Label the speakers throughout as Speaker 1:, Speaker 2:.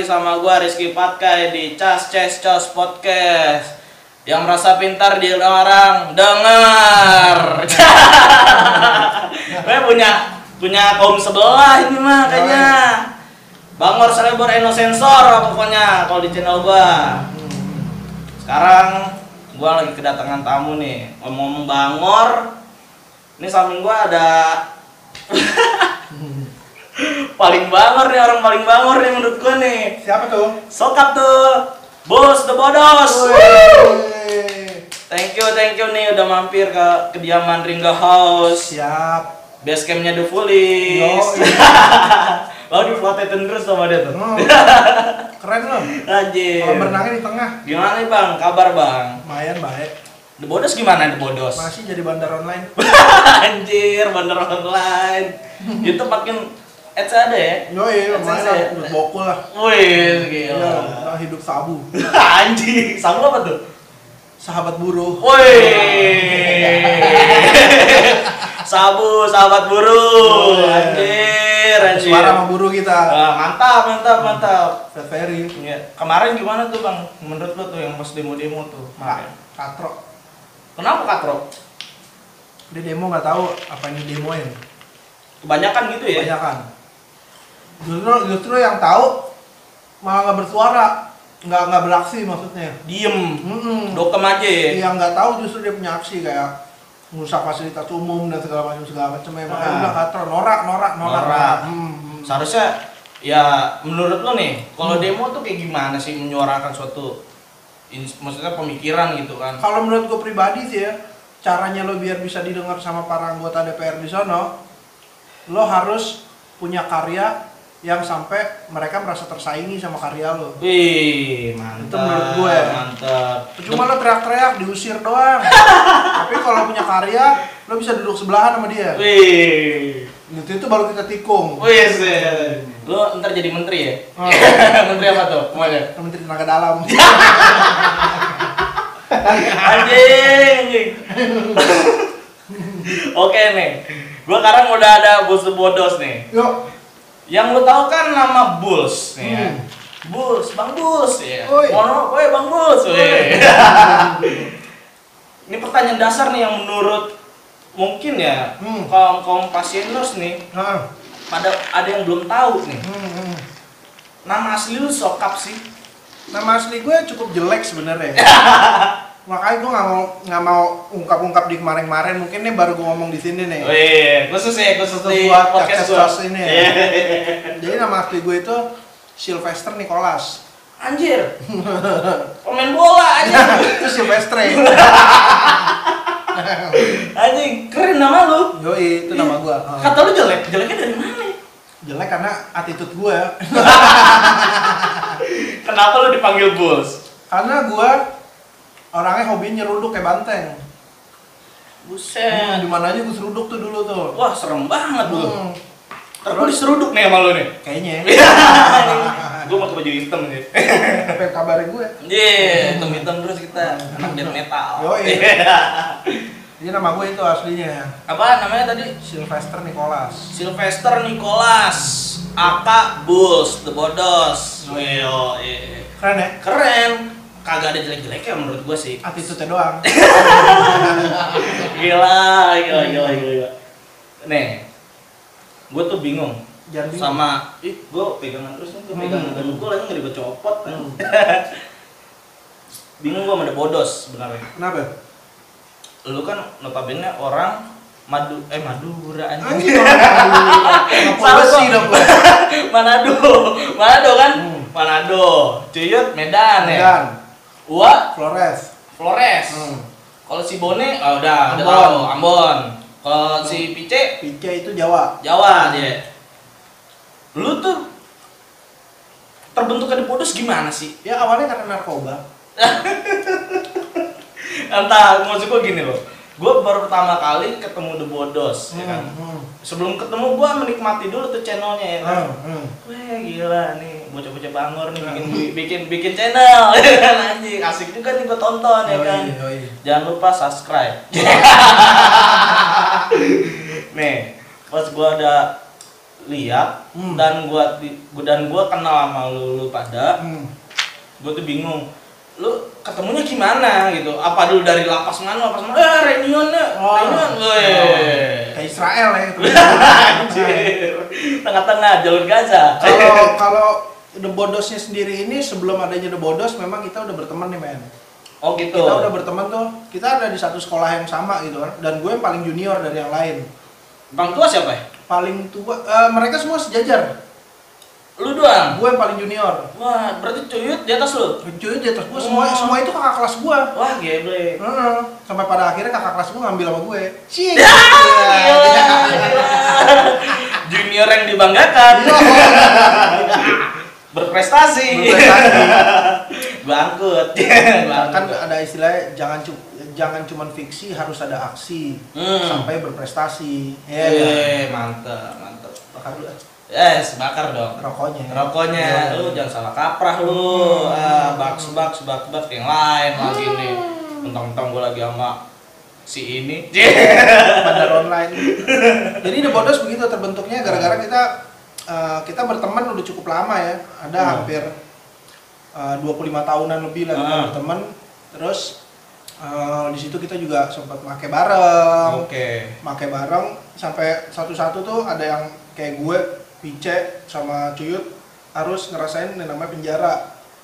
Speaker 1: sama gua Rizky Patkai di Cas Ces Cos Podcast. Yang merasa pintar di orang dengar. Gue punya punya kaum sebelah ini mah kayaknya. Bangor selebor eno sensor pokoknya kalau di channel gua. Sekarang gua lagi kedatangan tamu nih. Ngomong-ngomong Bangor, ini samping gua ada paling Bangor nih orang paling Bangor nih menurut gua nih.
Speaker 2: Siapa tuh?
Speaker 1: Sokap tuh, bos the bodos.
Speaker 2: Wih.
Speaker 1: Thank you, thank you nih udah mampir ke kediaman Ringga House.
Speaker 2: Siap.
Speaker 1: Base campnya The Foolish.
Speaker 2: Yo, iya.
Speaker 1: Lalu diplotetin terus sama dia tuh.
Speaker 2: Hmm. Keren loh.
Speaker 1: Anjir.
Speaker 2: Kolam renangnya di tengah.
Speaker 1: Gimana nih bang, kabar bang?
Speaker 2: Lumayan baik.
Speaker 1: The Bodos gimana The Bodos?
Speaker 2: Masih jadi bandar online.
Speaker 1: Anjir, bener online. Itu makin ads ada ya?
Speaker 2: Yo, iya, lumayan lah.
Speaker 1: Saya-
Speaker 2: Udah Bokul lah.
Speaker 1: Wih,
Speaker 2: Iya,
Speaker 1: gila.
Speaker 2: udah hidup sabu.
Speaker 1: Anjir, sama apa tuh?
Speaker 2: Sahabat buruh.
Speaker 1: Woi. Sabu, sahabat buruh.
Speaker 2: Boleh.
Speaker 1: iya.
Speaker 2: iya,
Speaker 1: Anjir, anjir.
Speaker 2: Suara sama buruh kita.
Speaker 1: Ah, mantap, mantap, mantap.
Speaker 2: Fat Ferry.
Speaker 1: Iya, Kemarin gimana tuh bang? Menurut lo tuh yang pas demo-demo tuh?
Speaker 2: Kak,
Speaker 1: kemarin.
Speaker 2: Katrok.
Speaker 1: Kenapa katrok?
Speaker 2: Dia demo nggak tahu apa yang didemoin.
Speaker 1: Kebanyakan gitu ya?
Speaker 2: Kebanyakan. Justru, justru yang tahu malah nggak bersuara, nggak nggak beraksi maksudnya.
Speaker 1: Diem,
Speaker 2: Mm-mm.
Speaker 1: dokem aja ya?
Speaker 2: yang nggak tahu justru dia punya aksi kayak merusak fasilitas umum dan segala macam segala macam ya makanya
Speaker 1: Ah.
Speaker 2: udah katro norak norak norak,
Speaker 1: Norak.
Speaker 2: Hmm, hmm.
Speaker 1: Seharusnya ya menurut lo nih, kalau
Speaker 2: Hmm.
Speaker 1: demo tuh kayak gimana sih menyuarakan suatu ins- maksudnya pemikiran gitu kan?
Speaker 2: kalau menurut gue pribadi sih ya caranya lo biar bisa didengar sama para anggota DPR di sono lo harus punya karya yang sampai mereka merasa tersaingi sama karya lo
Speaker 1: Wih, mantap.
Speaker 2: Itu menurut ya. gue.
Speaker 1: Mantap.
Speaker 2: cuma lo teriak-teriak diusir doang tapi kalau punya karya lo bisa duduk sebelahan sama dia
Speaker 1: Wih.
Speaker 2: itu itu baru kita tikung
Speaker 1: Wih, sih. Lo ntar jadi menteri ya?
Speaker 2: Oh.
Speaker 1: menteri apa tuh? Kemana?
Speaker 2: Menteri Tenaga Dalam
Speaker 1: Iya. Anjing. anjing. Oke nih. Gua sekarang udah ada bos bodos nih.
Speaker 2: yuk
Speaker 1: Yang lu tahu kan nama Bulls nih ya.
Speaker 2: Hmm.
Speaker 1: Bulls, Bang Bulls ya.
Speaker 2: Oi.
Speaker 1: Mono, woi Bang Bulls. woi. Ini pertanyaan dasar nih yang menurut mungkin ya
Speaker 2: Hmm.
Speaker 1: kaum kaum pasieners nih
Speaker 2: nah.
Speaker 1: pada ada yang belum tahu nih.
Speaker 2: Hmm, hmm.
Speaker 1: Nama asli lu sokap sih.
Speaker 2: Nama asli gue cukup jelek sebenarnya. Makanya gue nggak mau nggak mau ungkap-ungkap di kemarin-kemarin. Mungkin nih baru gue ngomong di sini
Speaker 1: Oh, iya.
Speaker 2: nih.
Speaker 1: Wih, khusus ya, khusus
Speaker 2: Khusus
Speaker 1: di
Speaker 2: buat
Speaker 1: podcast
Speaker 2: Cacas
Speaker 1: gua.
Speaker 2: Cacas ini ya.
Speaker 1: Iya.
Speaker 2: Jadi nama asli gue itu Sylvester Nicholas.
Speaker 1: Anjir. Pemain bola anjing.
Speaker 2: itu Sylvester.
Speaker 1: anjing, keren nama lu.
Speaker 2: Yoi, itu nama gue. Oh.
Speaker 1: Kata lu jelek, jeleknya dari mana?
Speaker 2: Jelek karena attitude gue.
Speaker 1: Kenapa lu dipanggil Bulls?
Speaker 2: Karena gue orangnya hobi nyeruduk kayak banteng. Nah,
Speaker 1: Buset.
Speaker 2: Di mana aja gue seruduk tuh dulu tuh.
Speaker 1: Wah, serem banget lu.
Speaker 2: Hmm,
Speaker 1: Ntar gua diseruduk nih sama lu nih.
Speaker 2: kayaknya. ya.
Speaker 1: Gua pakai baju hitam nih. Iya.
Speaker 2: Apa yang kabarin gue?
Speaker 1: Ye, Iya, hitam-hitam terus kita anak death metal.
Speaker 2: Yoi. Jadi nama gue itu aslinya
Speaker 1: Apa namanya tadi?
Speaker 2: Sylvester Nicholas.
Speaker 1: Sylvester Nicholas Aka Bulls, The Bodos. Yo,
Speaker 2: Keren ya?
Speaker 1: keren. Kagak ada jelek-jeleknya menurut gua sih.
Speaker 2: Attitude-nya doang.
Speaker 1: Gila, gila, gila, gila. gila. Nih, gua tuh bingung
Speaker 2: Jangan bingung.
Speaker 1: sama ih gua pegangan terus nih, gua pegangan
Speaker 2: Hmm.
Speaker 1: dan gua lagi ngeri gua copot kan.
Speaker 2: Hmm.
Speaker 1: bingung gua sama The Bodos sebenarnya.
Speaker 2: Kenapa?
Speaker 1: Lu kan notabene orang Madu eh Madura anjing.
Speaker 2: Anjing orang
Speaker 1: Salah
Speaker 2: Polisi
Speaker 1: gua.
Speaker 2: dong gue.
Speaker 1: Manado, Manado kan?
Speaker 2: Hmm.
Speaker 1: Manado, Cuyut, Medan ya.
Speaker 2: Dan
Speaker 1: Ua,
Speaker 2: Flores.
Speaker 1: Flores.
Speaker 2: Hmm.
Speaker 1: Kalau si Bone, oh, udah, udah
Speaker 2: Ambon.
Speaker 1: tahu, Ambon. Kalau si Pice,
Speaker 2: Pica itu Jawa.
Speaker 1: Jawa dia. Lu tuh terbentuknya di Podus gimana sih?
Speaker 2: Ya awalnya karena narkoba.
Speaker 1: Entah, maksud gua gini loh. Gua baru pertama kali ketemu The Bodos, ya kan?
Speaker 2: Hmm,
Speaker 1: Sebelum ketemu gua menikmati dulu tuh channelnya ya kan?
Speaker 2: hmm, hmm.
Speaker 1: Wah gila nih, bocah-bocah Bangor nih bikin
Speaker 2: Hmm.
Speaker 1: bikin bikin channel
Speaker 2: Iya,
Speaker 1: ya kan anjing. Asik juga nih gua tonton ya kan.
Speaker 2: Yoi, yoi.
Speaker 1: Jangan lupa subscribe. nih, pas gua ada lihat
Speaker 2: Hmm.
Speaker 1: dan gua di- dan gua kenal sama lu, lu pada
Speaker 2: Hmm.
Speaker 1: gua tuh bingung lu ketemunya gimana gitu apa dulu dari lapas mana lapas mana eh reunion ya
Speaker 2: Oh.
Speaker 1: reunion iya.
Speaker 2: Ke Israel ya gitu.
Speaker 1: Anjir. tengah-tengah jalur Gaza
Speaker 2: Kalau kalau The Bodosnya sendiri ini sebelum adanya The Bodos memang kita udah berteman nih men.
Speaker 1: oh gitu
Speaker 2: Kita udah berteman tuh. Kita ada di satu sekolah yang sama gitu kan. Dan gue yang paling junior dari yang lain.
Speaker 1: bang tua siapa ya
Speaker 2: Paling tua eh, mereka semua sejajar.
Speaker 1: lu doang
Speaker 2: Gue yang paling junior.
Speaker 1: wah berarti cuyut di atas lu
Speaker 2: Cuy di atas gue
Speaker 1: Oh.
Speaker 2: semua semua itu kakak kelas gue.
Speaker 1: wah geblek
Speaker 2: Heeh. Sampai pada akhirnya kakak kelas gue ngambil sama gue. Cih.
Speaker 1: Ya, Gila, gila. junior yang dibanggakan
Speaker 2: Iya.
Speaker 1: berprestasi gua angkut Gua
Speaker 2: kan
Speaker 1: angkut.
Speaker 2: ada istilahnya jangan cu- jangan cuman fiksi harus ada aksi
Speaker 1: Hmm.
Speaker 2: sampai berprestasi ya kan?
Speaker 1: Eh, mantep mantep
Speaker 2: bakar dulu ah,
Speaker 1: yes bakar dong
Speaker 2: rokoknya
Speaker 1: rokoknya lu jangan salah kaprah lu ah, baks baks baks baks yang lain lagi nih tentang-tentang gua lagi sama si ini
Speaker 2: bandar online jadi The Bodos begitu terbentuknya gara-gara kita eh, kita berteman udah cukup lama ya ada
Speaker 1: Hmm.
Speaker 2: hampir eh, 25 tahunan lebih lah kita
Speaker 1: Hmm.
Speaker 2: berteman terus eh, di situ kita juga sempat make bareng
Speaker 1: oke
Speaker 2: pakai bareng sampai satu-satu tuh ada yang kayak gue, Pice sama Cuyut harus ngerasain yang namanya penjara.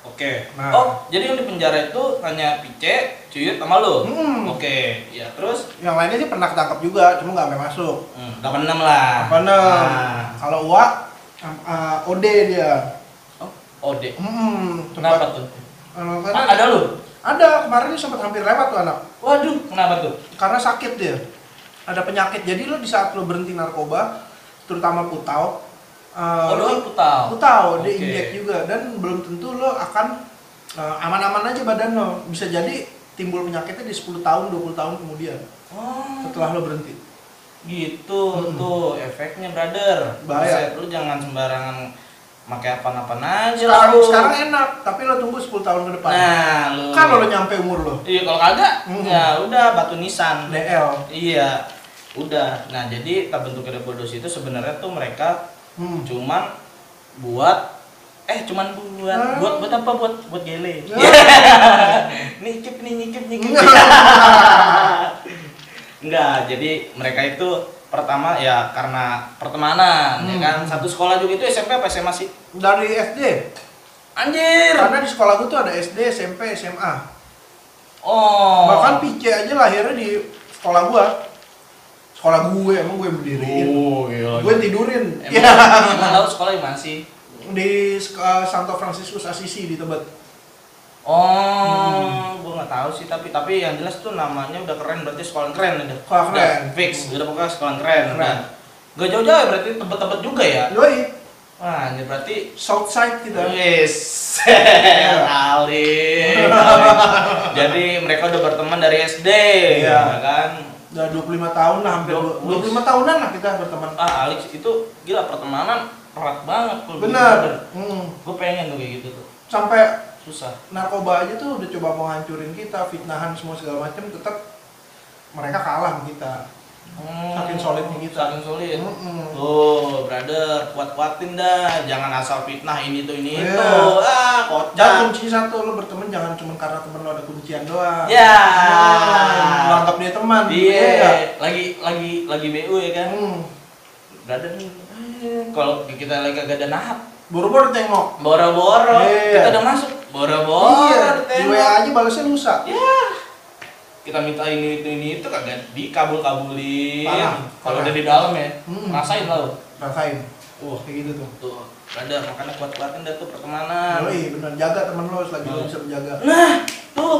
Speaker 1: oke
Speaker 2: Nah.
Speaker 1: oh jadi yang di penjara itu hanya pice cuyut sama lu
Speaker 2: Hmm.
Speaker 1: oke ya terus
Speaker 2: Yang lainnya sih pernah ketangkep juga, cuma nggak sampai masuk.
Speaker 1: hmm, 86 lah
Speaker 2: Karena
Speaker 1: Nah.
Speaker 2: kalau Uwa am- ah, Ode dia.
Speaker 1: oh ode
Speaker 2: Hmm,
Speaker 1: kenapa tuh
Speaker 2: eh, karena
Speaker 1: Ah, ada lu
Speaker 2: ada kemarin dia sempat hampir lewat tuh anak
Speaker 1: waduh kenapa tuh
Speaker 2: karena sakit dia. Ada penyakit. Jadi lo di saat lo berhenti narkoba, terutama putau, eh,
Speaker 1: oh
Speaker 2: lo-
Speaker 1: lu putau
Speaker 2: Aku tahu dia
Speaker 1: Oke.
Speaker 2: injek juga dan belum tentu lo akan eh, aman-aman aja badan lo. Bisa jadi timbul penyakitnya di 10 tahun, 20 tahun kemudian
Speaker 1: oh
Speaker 2: setelah lo berhenti.
Speaker 1: gitu
Speaker 2: Mm-mm.
Speaker 1: tuh efeknya brother
Speaker 2: Hmm.
Speaker 1: Buset,
Speaker 2: Bahaya.
Speaker 1: lu jangan sembarangan pakai apa-apaan aja lah
Speaker 2: Sekarang,
Speaker 1: lu.
Speaker 2: sekarang Kan enak, tapi lo tunggu 10 tahun ke depan.
Speaker 1: nah lu
Speaker 2: Kalau lo nyampe umur Nah, lo,
Speaker 1: iya kalau kagak
Speaker 2: Mm.
Speaker 1: ya udah batu nisan
Speaker 2: DL.
Speaker 1: iya udah nah jadi terbentuk ada bodos itu sebenarnya tuh mereka
Speaker 2: Hmm.
Speaker 1: cuman buat eh cuman buat
Speaker 2: Ah.
Speaker 1: buat buat apa buat buat gele nikip nih nikip nikip enggak jadi mereka itu pertama ya karena pertemanan ya
Speaker 2: Hmm.
Speaker 1: kan satu sekolah juga itu SMP apa SMA sih
Speaker 2: Dari SD,
Speaker 1: anjir
Speaker 2: karena di sekolah gue tuh ada SD, SMP, SMA.
Speaker 1: oh
Speaker 2: Bahkan PC aja lahirnya di sekolah gua. Sekolah gue emang gue yang berdiriin.
Speaker 1: oh gila
Speaker 2: Gue yang tidurin.
Speaker 1: emang, iya.
Speaker 2: Ya.
Speaker 1: emang tahu sekolah di mana sih
Speaker 2: Di eh, Santo Franciscus Assisi di Tebet.
Speaker 1: Oh,
Speaker 2: Hmm.
Speaker 1: gua nggak tahu sih tapi tapi yang jelas tuh namanya udah keren berarti sekolah yang keren udah.
Speaker 2: Sekolah
Speaker 1: Udah
Speaker 2: keren.
Speaker 1: fix, udah pokoknya sekolah yang keren.
Speaker 2: Keren.
Speaker 1: Udah. Gak jauh-jauh ya, berarti tebet-tebet juga ya.
Speaker 2: Yoi,
Speaker 1: Wah, ini berarti
Speaker 2: Southside
Speaker 1: Oh,
Speaker 2: kita.
Speaker 1: Wis, alim. alim. Jadi mereka udah berteman dari SD, ya
Speaker 2: Iya.
Speaker 1: kan?
Speaker 2: Udah 25 tahun lah, hampir
Speaker 1: Dua-
Speaker 2: dua- 25 tahunan lah kita berteman.
Speaker 1: Ah, Alex itu gila pertemanan erat banget. kalau
Speaker 2: Benar.
Speaker 1: bener.
Speaker 2: Hmm.
Speaker 1: Gua pengen tuh kayak gitu tuh,
Speaker 2: Sampai
Speaker 1: susah.
Speaker 2: narkoba aja tuh udah coba mau hancurin kita, fitnahan semua segala macam tetap mereka kalah sama kita.
Speaker 1: Hmm,
Speaker 2: Saking solidnya gitu. Hmm. kita.
Speaker 1: Saking solid.
Speaker 2: Mm-mm.
Speaker 1: Tuh, Oh, brother, kuat-kuatin dah. Jangan asal fitnah ini tuh ini
Speaker 2: Iya.
Speaker 1: itu. Ah,
Speaker 2: Dan
Speaker 1: kocak.
Speaker 2: kunci satu lo berteman jangan cuma karena temen lo ada kuncian doang.
Speaker 1: Ya.
Speaker 2: Hmm, lo anggap dia teman.
Speaker 1: Dia
Speaker 2: ya.
Speaker 1: lagi lagi lagi BU ya kan.
Speaker 2: Hmm.
Speaker 1: Brother nih. eh, Kalau kita lagi kagak ada nahap,
Speaker 2: Buru-buru tengok.
Speaker 1: boro-boro.
Speaker 2: Iya.
Speaker 1: Kita udah masuk. Boro-boro.
Speaker 2: di
Speaker 1: tembak.
Speaker 2: WA aja balasnya lusa.
Speaker 1: Ya. Kita minta ini itu ini itu kagak dikabul-kabulin.
Speaker 2: Parah.
Speaker 1: Kalau
Speaker 2: Parah.
Speaker 1: udah di dalam ya,
Speaker 2: Hmm.
Speaker 1: rasain lah. lu.
Speaker 2: Rasain.
Speaker 1: Wah,
Speaker 2: Kayak gitu tuh.
Speaker 1: tuh, brother, makanya kuat-kuatin dah tuh pertemanan.
Speaker 2: Yoi, benar jaga temen lo selagi lo
Speaker 1: Hmm.
Speaker 2: bisa menjaga.
Speaker 1: Nah, tuh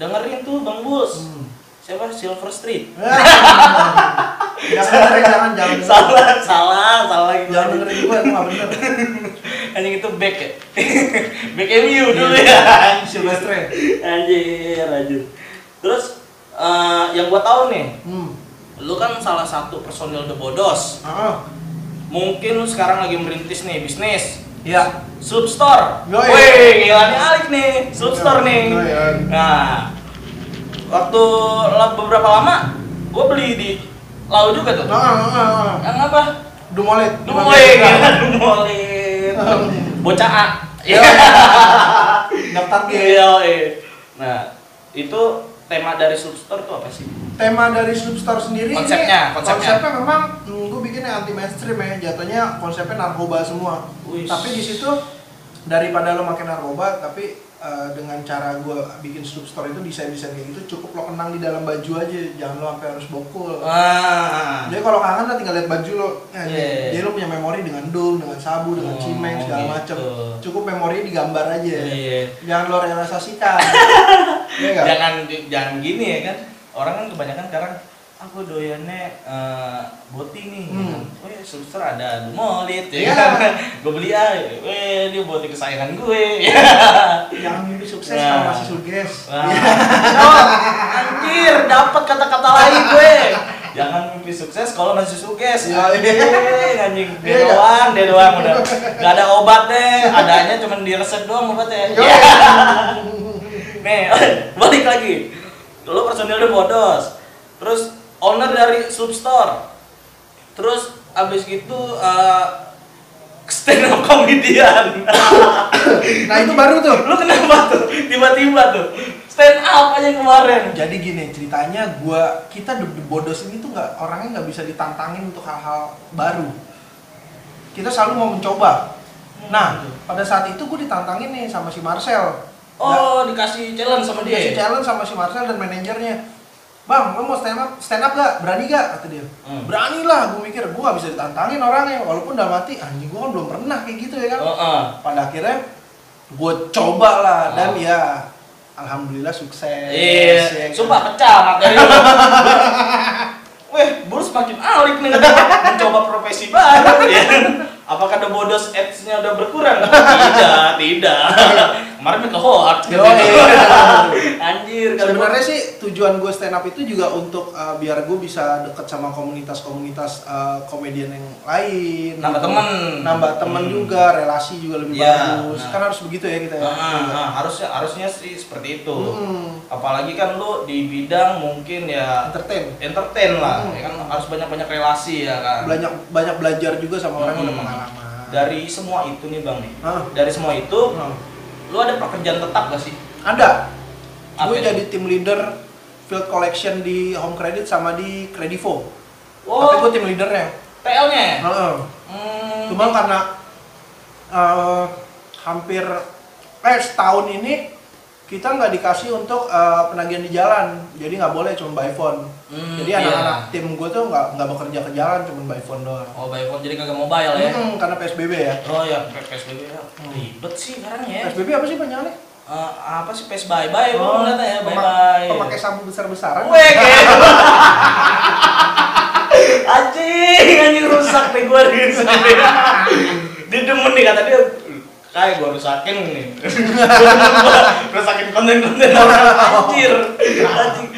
Speaker 1: dengerin tuh Bang Bus.
Speaker 2: Hmm.
Speaker 1: Siapa Silver Street?
Speaker 2: Ah. jangan dengerin, jangan jangan
Speaker 1: salah, salah, salah gitu.
Speaker 2: jangan dengerin gue itu nggak bener
Speaker 1: Anjing itu back ya. back MU dulu ya.
Speaker 2: Silvestre
Speaker 1: Anjir, anjir. Terus eh, yang gua tahu nih,
Speaker 2: hmm
Speaker 1: lu kan salah satu personil The Bodos.
Speaker 2: ah
Speaker 1: Mungkin lu sekarang lagi merintis nih bisnis.
Speaker 2: ya
Speaker 1: Substore.
Speaker 2: Yoi.
Speaker 1: Wih, gila nih Alik nih, Substore nih.
Speaker 2: iya.
Speaker 1: Nah, waktu la- beberapa lama, gue beli di Lau juga tuh.
Speaker 2: ah ah ah
Speaker 1: Yang apa?
Speaker 2: Dumolit.
Speaker 1: Dumolit, gila dumolit. Bocah A.
Speaker 2: Iya. Daftar dia.
Speaker 1: Iya, iya. Nah, itu tema dari Substore tuh apa sih?
Speaker 2: Tema dari Substar sendiri ini-
Speaker 1: Konsepnya, konsepnya.
Speaker 2: memang hmm, gue bikin yang anti mainstream ya. Jatuhnya konsepnya narkoba semua.
Speaker 1: Wih.
Speaker 2: Tapi di situ daripada lo makin narkoba tapi eh, dengan cara gue bikin Substar itu desain-desain kayak gitu cukup lo kenang di dalam baju aja jangan lo sampai harus bokul
Speaker 1: Wah.
Speaker 2: Jadi kalau kangen lo tinggal lihat baju lo. Ya,
Speaker 1: Ah. Iya.
Speaker 2: Jadi lo punya memori dengan dom, dengan sabu,
Speaker 1: Oh,
Speaker 2: dengan cimeng segala
Speaker 1: gitu.
Speaker 2: macem. Cukup memori digambar aja.
Speaker 1: Iya.
Speaker 2: Jangan lo realisasikan. Iya nggak?
Speaker 1: Jangan di- jangan gini ya kan. Orang kan kebanyakan sekarang aku doyannya eh boti nih.
Speaker 2: Hmm.
Speaker 1: Oh ya, Substore ada dumolit
Speaker 2: Iya.
Speaker 1: ya kan. gue beli ah, weh dia boti kesayangan gue.
Speaker 2: Jangan mimpi sukses
Speaker 1: Nah.
Speaker 2: kalau masih suges.
Speaker 1: Wah. Oh, anjir, dapat kata-kata lain gue. Jangan mimpi sukses kalau masih sukses.
Speaker 2: Iya.
Speaker 1: Anjing, anjing. Dia
Speaker 2: Iya.
Speaker 1: doang, dia doang udah. Gak ada obat deh, adanya cuma di resep doang obatnya.
Speaker 2: Yo.
Speaker 1: Ya. Nih, balik lagi. Lo personilnya bodos. Terus owner dari Substore. Terus abis gitu eh, stand up comedian.
Speaker 2: Nah itu baru tuh.
Speaker 1: Lu kenapa tuh? Tiba-tiba tuh. Stand up aja kemarin.
Speaker 2: Jadi gini ceritanya gua kita The The bodos ini tuh nggak orangnya nggak bisa ditantangin untuk hal-hal baru. Kita selalu mau mencoba. Nah, pada saat itu gue ditantangin nih sama si Marcel.
Speaker 1: Oh, dikasih challenge sama dia.
Speaker 2: Dikasih challenge sama si Marcel dan manajernya. Bang, lo mau stand up, stand up gak? Berani gak? Kata dia.
Speaker 1: Hmm.
Speaker 2: Berani lah, gue mikir. Gue gak bisa ditantangin orangnya. Walaupun udah mati, anjing gue kan belum pernah kayak gitu ya kan.
Speaker 1: Oh, oh.
Speaker 2: Pada akhirnya, gue coba lah. Dan
Speaker 1: Oh.
Speaker 2: ya, Alhamdulillah sukses.
Speaker 1: Iya,
Speaker 2: ya kan?
Speaker 1: sumpah pecah materi lu. Weh, baru semakin alik nih katanya. mencoba profesi baru
Speaker 2: Iya.
Speaker 1: ya. Apakah the bodos ads-nya udah berkurang? tidak, tidak. Kemarin ke hoax gitu.
Speaker 2: Yo, iya.
Speaker 1: Anjir, kata gua.
Speaker 2: Sebenarnya sih tujuan gue stand up itu juga untuk eh, biar gue bisa deket sama komunitas-komunitas eh, komedian yang lain.
Speaker 1: Nambah
Speaker 2: gitu.
Speaker 1: temen.
Speaker 2: Nambah temen
Speaker 1: Hmm.
Speaker 2: juga, relasi juga lebih
Speaker 1: Iya,
Speaker 2: bagus.
Speaker 1: nah.
Speaker 2: Kan harus begitu ya kita. ya.
Speaker 1: Ah, ah, ah, harusnya harusnya sih seperti itu.
Speaker 2: Hmm.
Speaker 1: Apalagi kan lu di bidang mungkin ya
Speaker 2: Entertain.
Speaker 1: entertain lah,
Speaker 2: Hmm.
Speaker 1: ya kan harus banyak-banyak relasi ya kan.
Speaker 2: Banyak banyak belajar juga sama orang yang udah
Speaker 1: Hmm.
Speaker 2: pengalaman.
Speaker 1: Dari semua itu nih bang nih,
Speaker 2: Hah?
Speaker 1: dari semua itu
Speaker 2: Hmm.
Speaker 1: lu ada pekerjaan tetap gak sih?
Speaker 2: Ada.
Speaker 1: Apa
Speaker 2: Gue
Speaker 1: itu?
Speaker 2: jadi tim leader field collection di Home Credit sama di Credivo. Tapi
Speaker 1: Oh,
Speaker 2: gue tim leadernya.
Speaker 1: TL-nya.
Speaker 2: Heeh.
Speaker 1: Hmm.
Speaker 2: Cuma karena eh, hampir eh setahun ini kita nggak dikasih untuk eh, penagihan di jalan, jadi nggak boleh cuma by phone.
Speaker 1: Hmm, iya.
Speaker 2: jadi anak-anak tim gue tuh nggak nggak bekerja ke jalan, cuma by phone doang.
Speaker 1: Oh, by phone jadi kagak mobile ya.
Speaker 2: Hmm, karena PSBB ya.
Speaker 1: Oh ya, PSBB ya. Ribet sih sekarang ya.
Speaker 2: PSBB apa sih panjangnya?
Speaker 1: Eh, apa sih PS bye bye lu
Speaker 2: Oh,
Speaker 1: ngeliatnya ya, bye
Speaker 2: pemak-
Speaker 1: bye.
Speaker 2: Pemakai sabu besar-besaran.
Speaker 1: Weh, kayak- gitu. anjing, anjing rusak nih gue di sini. Dia demen nih kata dia, kayak gue rusakin nih. Gua demen gua rusakin konten-konten orang anjir. Anjing.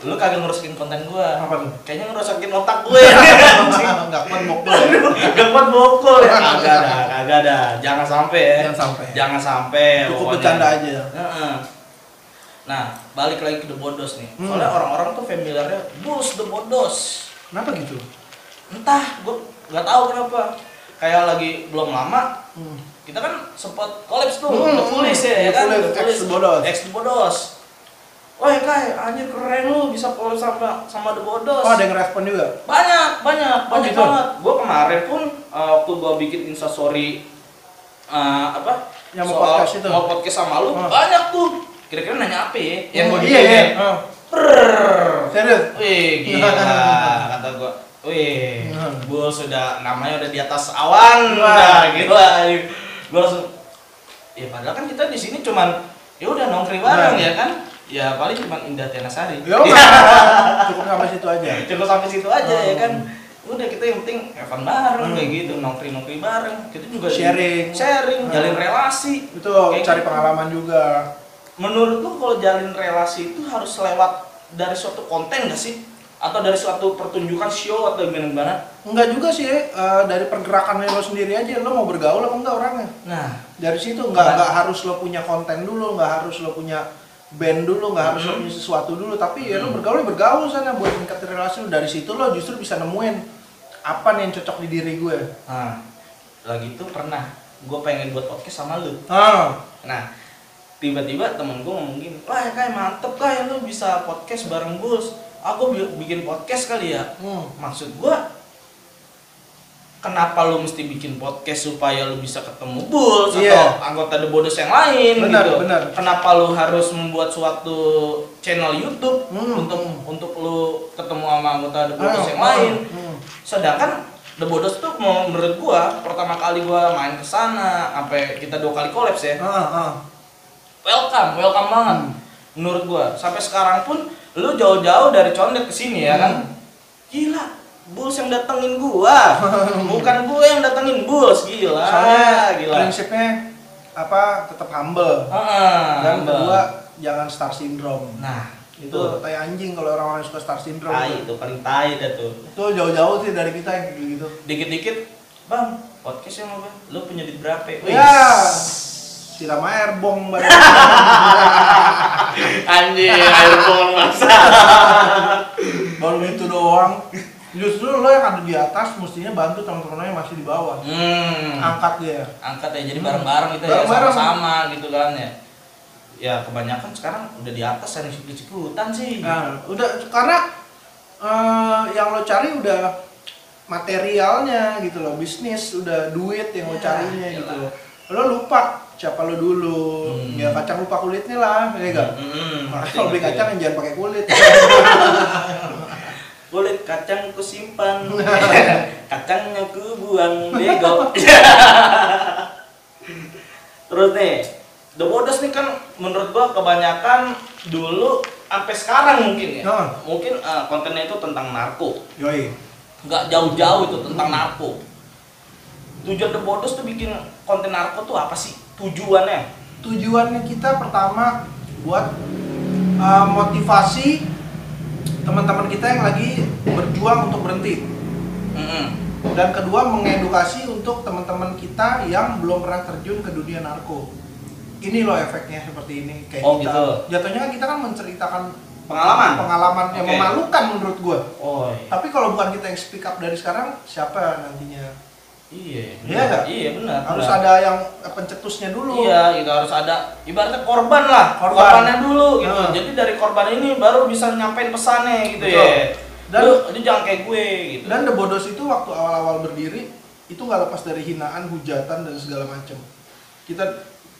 Speaker 1: Lu kagak ngerusakin konten gue.
Speaker 2: Apa tuh?
Speaker 1: Kayaknya ngerusakin otak ya. gue. anjing.
Speaker 2: Nggak kuat mokbol ya.
Speaker 1: Aduh, Gak kuat bokol ya. Kagak ada, kagak ada. Jangan sampai ya.
Speaker 2: Jangan sampai.
Speaker 1: Jangan sampai.
Speaker 2: Cukup
Speaker 1: pokoknya.
Speaker 2: bercanda aja.
Speaker 1: Heeh. Nah, balik lagi ke The Bodos nih.
Speaker 2: Hmm.
Speaker 1: Soalnya orang-orang tuh familiarnya Bulls The Bodos.
Speaker 2: Kenapa gitu?
Speaker 1: Entah, gue nggak tahu kenapa. Kayak lagi belum lama,
Speaker 2: Hmm.
Speaker 1: kita kan sempat kolaps tuh,
Speaker 2: Hmm,
Speaker 1: The Police
Speaker 2: hmm.
Speaker 1: ya, ya
Speaker 2: The
Speaker 1: kan?
Speaker 2: Police, X The Bodos.
Speaker 1: X The Bodos. Woi, Kai, anjir keren lu bisa kolaps sama sama The Bodos.
Speaker 2: Oh ada yang respon juga?
Speaker 1: Banyak, banyak,
Speaker 2: Oh,
Speaker 1: banyak
Speaker 2: gitu?
Speaker 1: banget. Gue kemarin pun uh, waktu gue bikin instastory uh, apa?
Speaker 2: Yang mau
Speaker 1: soal
Speaker 2: podcast itu?
Speaker 1: mau podcast sama lu,
Speaker 2: Ah.
Speaker 1: banyak tuh. Kira-kira nanya apa ya? Yang gue
Speaker 2: Hmm,
Speaker 1: bikin.
Speaker 2: iya,
Speaker 1: ya?
Speaker 2: iya. Oh,
Speaker 1: Prrrr.
Speaker 2: Serius?
Speaker 1: Wih, gila. Kata gua, wih,
Speaker 2: Iya.
Speaker 1: gua sudah namanya udah di atas awan, udah gila. Gua langsung, ya padahal kan kita di sini cuman, ya udah nongkrong bareng
Speaker 2: Nah.
Speaker 1: ya kan? Ya paling cuman Indah Tianasari.
Speaker 2: Yo, Ya cukup sampai situ aja.
Speaker 1: Cukup sampai situ aja ya
Speaker 2: Hmm.
Speaker 1: kan. Udah kita yang penting Evan bareng
Speaker 2: Hmm.
Speaker 1: kayak gitu, nongkrong nongkrong bareng. Kita juga
Speaker 2: Sharing.
Speaker 1: sharing,
Speaker 2: Hmm.
Speaker 1: jalin relasi.
Speaker 2: Itu
Speaker 1: Kayak
Speaker 2: cari
Speaker 1: gitu.
Speaker 2: pengalaman juga.
Speaker 1: Menurut lu kalau jalin relasi itu harus lewat dari suatu konten gak sih? Atau dari suatu pertunjukan show atau gimana gimana?
Speaker 2: Enggak juga sih, eh, dari pergerakan lo sendiri aja lo mau bergaul apa enggak orangnya.
Speaker 1: Nah,
Speaker 2: Dari situ enggak
Speaker 1: Nah.
Speaker 2: enggak harus lo punya konten dulu, enggak harus lo punya band dulu, enggak harus lo
Speaker 1: Hmm.
Speaker 2: punya sesuatu dulu, tapi ya lo bergaul ya bergaul sana buat meningkat relasi lo. Dari situ lo justru bisa nemuin apa nih yang cocok di diri gue
Speaker 1: nah lagi itu pernah gue pengen buat podcast sama lu
Speaker 2: ah
Speaker 1: nah tiba-tiba temen gue ngomong gini wah kayak mantep kayak lu bisa podcast bareng Gus aku bi- bikin podcast kali ya
Speaker 2: hmm.
Speaker 1: maksud gua kenapa lu mesti bikin podcast supaya lu bisa ketemu Bulls
Speaker 2: Iya.
Speaker 1: atau anggota The Bodos yang lain
Speaker 2: Benar,
Speaker 1: gitu.
Speaker 2: benar.
Speaker 1: Kenapa lu harus membuat suatu channel YouTube
Speaker 2: Hmm.
Speaker 1: untuk untuk lu ketemu sama anggota The Bodos
Speaker 2: Ah,
Speaker 1: yang lain.
Speaker 2: hmm.
Speaker 1: Sedangkan The Bodos tuh mau- menurut gua pertama kali gua main ke sana sampai kita dua kali kolaps ya.
Speaker 2: Ah, ah.
Speaker 1: Welcome, welcome banget.
Speaker 2: Hmm.
Speaker 1: Menurut gua sampai sekarang pun lu jauh-jauh dari Condet ke sini ya kan.
Speaker 2: Hmm.
Speaker 1: Gila, Bulls yang datengin gua. Bukan gua yang datengin Bulls, gila.
Speaker 2: soalnya
Speaker 1: gila.
Speaker 2: prinsipnya apa tetap humble
Speaker 1: Heeh,
Speaker 2: dan
Speaker 1: Mbak.
Speaker 2: kedua jangan star syndrome
Speaker 1: nah,
Speaker 2: itu
Speaker 1: itu
Speaker 2: tai anjing kalau orang-orang yang suka star syndrome
Speaker 1: tai itu paling tai dah tuh.
Speaker 2: itu jauh-jauh sih dari kita yang gitu gitu
Speaker 1: Dikit-dikit, "Bang, podcast yang Bang. Lu punya duit berapa?" Wih.
Speaker 2: ya siram air bong bareng
Speaker 1: Anjir, iPhone masa.
Speaker 2: baru itu doang justru lo yang ada di atas mestinya bantu teman-teman lo yang masih di bawah
Speaker 1: Hmm.
Speaker 2: angkat dia
Speaker 1: Angkat ya jadi bareng-bareng gitu ya,
Speaker 2: Hmm. Bareng-bareng.
Speaker 1: sama-sama gitu kan ya. Ya kebanyakan sekarang udah di atas ada sikut-sikutan sih.
Speaker 2: nah udah karena eh, yang lo cari udah materialnya gitu loh bisnis udah duit yang lo
Speaker 1: Ya,
Speaker 2: carinya
Speaker 1: iyalah.
Speaker 2: gitu loh lo lupa siapa lo dulu
Speaker 1: Hmm.
Speaker 2: ya kacang lupa kulitnya lah ya enggak
Speaker 1: Hmm,
Speaker 2: Makanya kalau beli
Speaker 1: gitu.
Speaker 2: kacang jangan pakai kulit
Speaker 1: kulit kacang ku simpan kacangnya ku buang bego terus nih The Bodos nih kan menurut gua kebanyakan dulu sampai sekarang mungkin ya
Speaker 2: Nah.
Speaker 1: mungkin eh, kontennya itu tentang narko
Speaker 2: yoi
Speaker 1: nggak jauh-jauh itu tentang narko tujuan The Bodos tuh bikin konten narko tuh apa sih tujuannya
Speaker 2: tujuannya kita pertama buat uh, motivasi teman-teman kita yang lagi berjuang untuk berhenti
Speaker 1: Mm-mm.
Speaker 2: dan kedua mengedukasi untuk teman-teman kita yang belum pernah terjun ke dunia narko ini loh efeknya seperti ini kayak
Speaker 1: Oh,
Speaker 2: kita
Speaker 1: gitu.
Speaker 2: jatuhnya kan kita kan menceritakan
Speaker 1: pengalaman
Speaker 2: pengalaman yang
Speaker 1: Oke.
Speaker 2: memalukan menurut gue
Speaker 1: oh iya.
Speaker 2: tapi kalau bukan kita yang speak up dari sekarang siapa nantinya
Speaker 1: iya
Speaker 2: Iya nggak?
Speaker 1: iya benar
Speaker 2: harus
Speaker 1: benar.
Speaker 2: ada yang eh, pencetusnya dulu
Speaker 1: Iya, gitu harus ada ibaratnya korban lah,
Speaker 2: Korban.
Speaker 1: korbannya dulu gitu.
Speaker 2: Nah.
Speaker 1: Jadi dari korban ini baru bisa nyampein pesannya gitu
Speaker 2: Betul.
Speaker 1: ya. Dan
Speaker 2: Dan-
Speaker 1: lu, lu jangan kayak gue gitu.
Speaker 2: Dan The Bodos itu waktu awal-awal berdiri itu nggak lepas dari hinaan, hujatan dan segala macam. Kita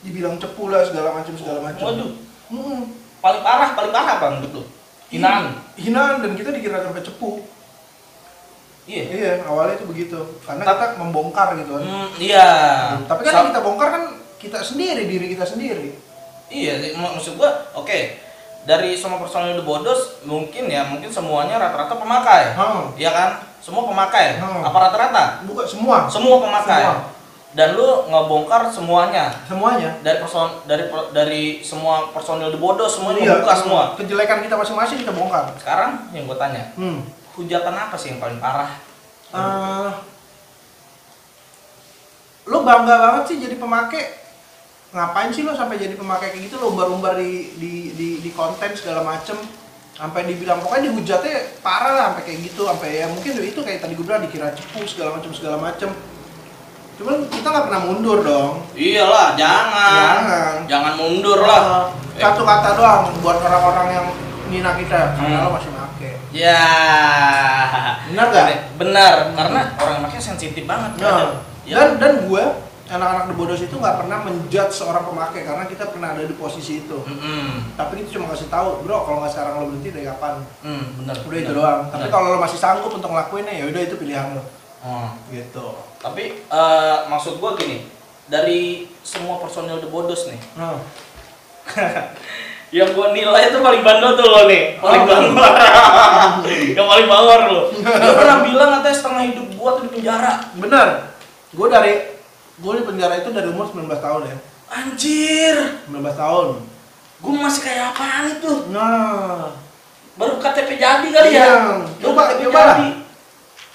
Speaker 2: dibilang cepu lah segala macam segala macam.
Speaker 1: Waduh,
Speaker 2: Mm-mm.
Speaker 1: paling parah, paling parah bang gitu. Hinaan.
Speaker 2: Hinaan dan kita dikira sampai cepu.
Speaker 1: Iya.
Speaker 2: Iya, awalnya itu begitu. Karena
Speaker 1: Ta-
Speaker 2: kita membongkar gitu kan.
Speaker 1: Hmm, iya.
Speaker 2: Tapi kan
Speaker 1: Sa-
Speaker 2: yang kita bongkar kan kita sendiri, diri kita sendiri.
Speaker 1: Iya, sih, mak- maksud gua, oke. Dari semua personil The Bodos mungkin ya, mungkin semuanya rata-rata pemakai.
Speaker 2: Hmm.
Speaker 1: Iya kan? Semua pemakai.
Speaker 2: Hmm.
Speaker 1: Apa rata-rata?
Speaker 2: Bukan semua,
Speaker 1: Semua pemakai.
Speaker 2: Semua.
Speaker 1: Dan lu ngebongkar semuanya.
Speaker 2: semuanya.
Speaker 1: dari person dari per- dari semua personil di bodoh semuanya
Speaker 2: Iya,
Speaker 1: membuka semua
Speaker 2: Kejelekan kita masing-masing kita bongkar.
Speaker 1: sekarang yang gue tanya
Speaker 2: Hmm.
Speaker 1: hujatan apa sih yang paling parah
Speaker 2: Eh, lo bangga banget sih jadi pemakai ngapain sih lo sampai jadi pemakai kayak gitu lo umbar-umbar di, di, di, di konten segala macem sampai dibilang pokoknya dihujatnya parah lah sampai kayak gitu sampai ya mungkin itu kayak tadi gue bilang dikira cepu segala macem segala macem cuman kita nggak pernah mundur dong
Speaker 1: iyalah jangan
Speaker 2: Jangan.
Speaker 1: jangan mundur lah
Speaker 2: Eh, satu kata doang buat orang-orang yang nina kita karena
Speaker 1: Hmm.
Speaker 2: lo masih make
Speaker 1: ya
Speaker 2: Benar nggak?
Speaker 1: benar karena orang makanya sensitif banget
Speaker 2: Nah,
Speaker 1: Ya.
Speaker 2: dan dan gue anak-anak The Bodos itu nggak pernah menjudge seorang pemakai karena kita pernah ada di posisi itu.
Speaker 1: Mm-mm.
Speaker 2: Tapi itu cuma kasih tahu, bro, kalau nggak sekarang lo berhenti dari kapan?
Speaker 1: Mm, benar
Speaker 2: Udah
Speaker 1: benar.
Speaker 2: itu doang. Tapi
Speaker 1: Benar.
Speaker 2: kalau lo masih sanggup untuk ngelakuinnya, ya udah itu pilihan lo.
Speaker 1: Hmm.
Speaker 2: Gitu.
Speaker 1: tapi eh, maksud gue gini dari semua personil The Bodos nih
Speaker 2: Nah,
Speaker 1: yang gua nilai itu paling bandel tuh lo nih paling
Speaker 2: Oh.
Speaker 1: bangor yang paling bangor lo lo pernah bilang katanya setengah hidup gua tuh di penjara
Speaker 2: bener. Gue dari gue di penjara itu dari umur 19 tahun ya.
Speaker 1: anjir
Speaker 2: 19 tahun.
Speaker 1: gua masih kayak apaan itu
Speaker 2: Nah,
Speaker 1: baru KTP jadi kali ya
Speaker 2: Iya.
Speaker 1: Baru
Speaker 2: Coba-
Speaker 1: KTP
Speaker 2: coba lah.
Speaker 1: jadi.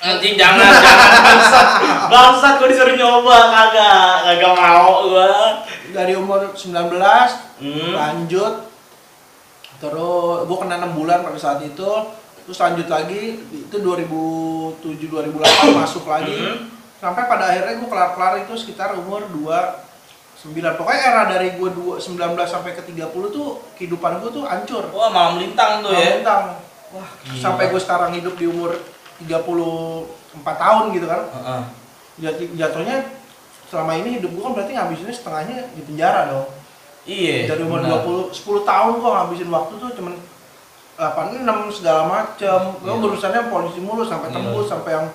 Speaker 1: nanti jangan jangan bangsat bangsat gua disuruh nyoba kagak kagak mau gua
Speaker 2: dari umur 19
Speaker 1: hmm.
Speaker 2: lanjut terus gue kena 6 bulan pada saat itu terus lanjut lagi itu 2007 2008 masuk lagi
Speaker 1: Mhm.
Speaker 2: sampai pada akhirnya gue kelar-kelar itu sekitar umur 29 pokoknya era dari gue 19 sampai ke 30 tuh kehidupan gue tuh hancur
Speaker 1: Wah malam lintang tuh ya.
Speaker 2: Mentang. Wah,
Speaker 1: Gila.
Speaker 2: sampai gue sekarang hidup di umur 34 tahun gitu kan.
Speaker 1: Heeh.
Speaker 2: Jat- Jatuhnya selama ini hidup gue kan berarti ngabisinnya setengahnya di penjara dong.
Speaker 1: Iya.
Speaker 2: Dari umur
Speaker 1: benar.
Speaker 2: 20 10 tahun gue ngabisin waktu tuh cuman 86 segala macem. Gue
Speaker 1: Iya.
Speaker 2: urusannya polisi mulu sampai
Speaker 1: Iya.
Speaker 2: tembus sampai yang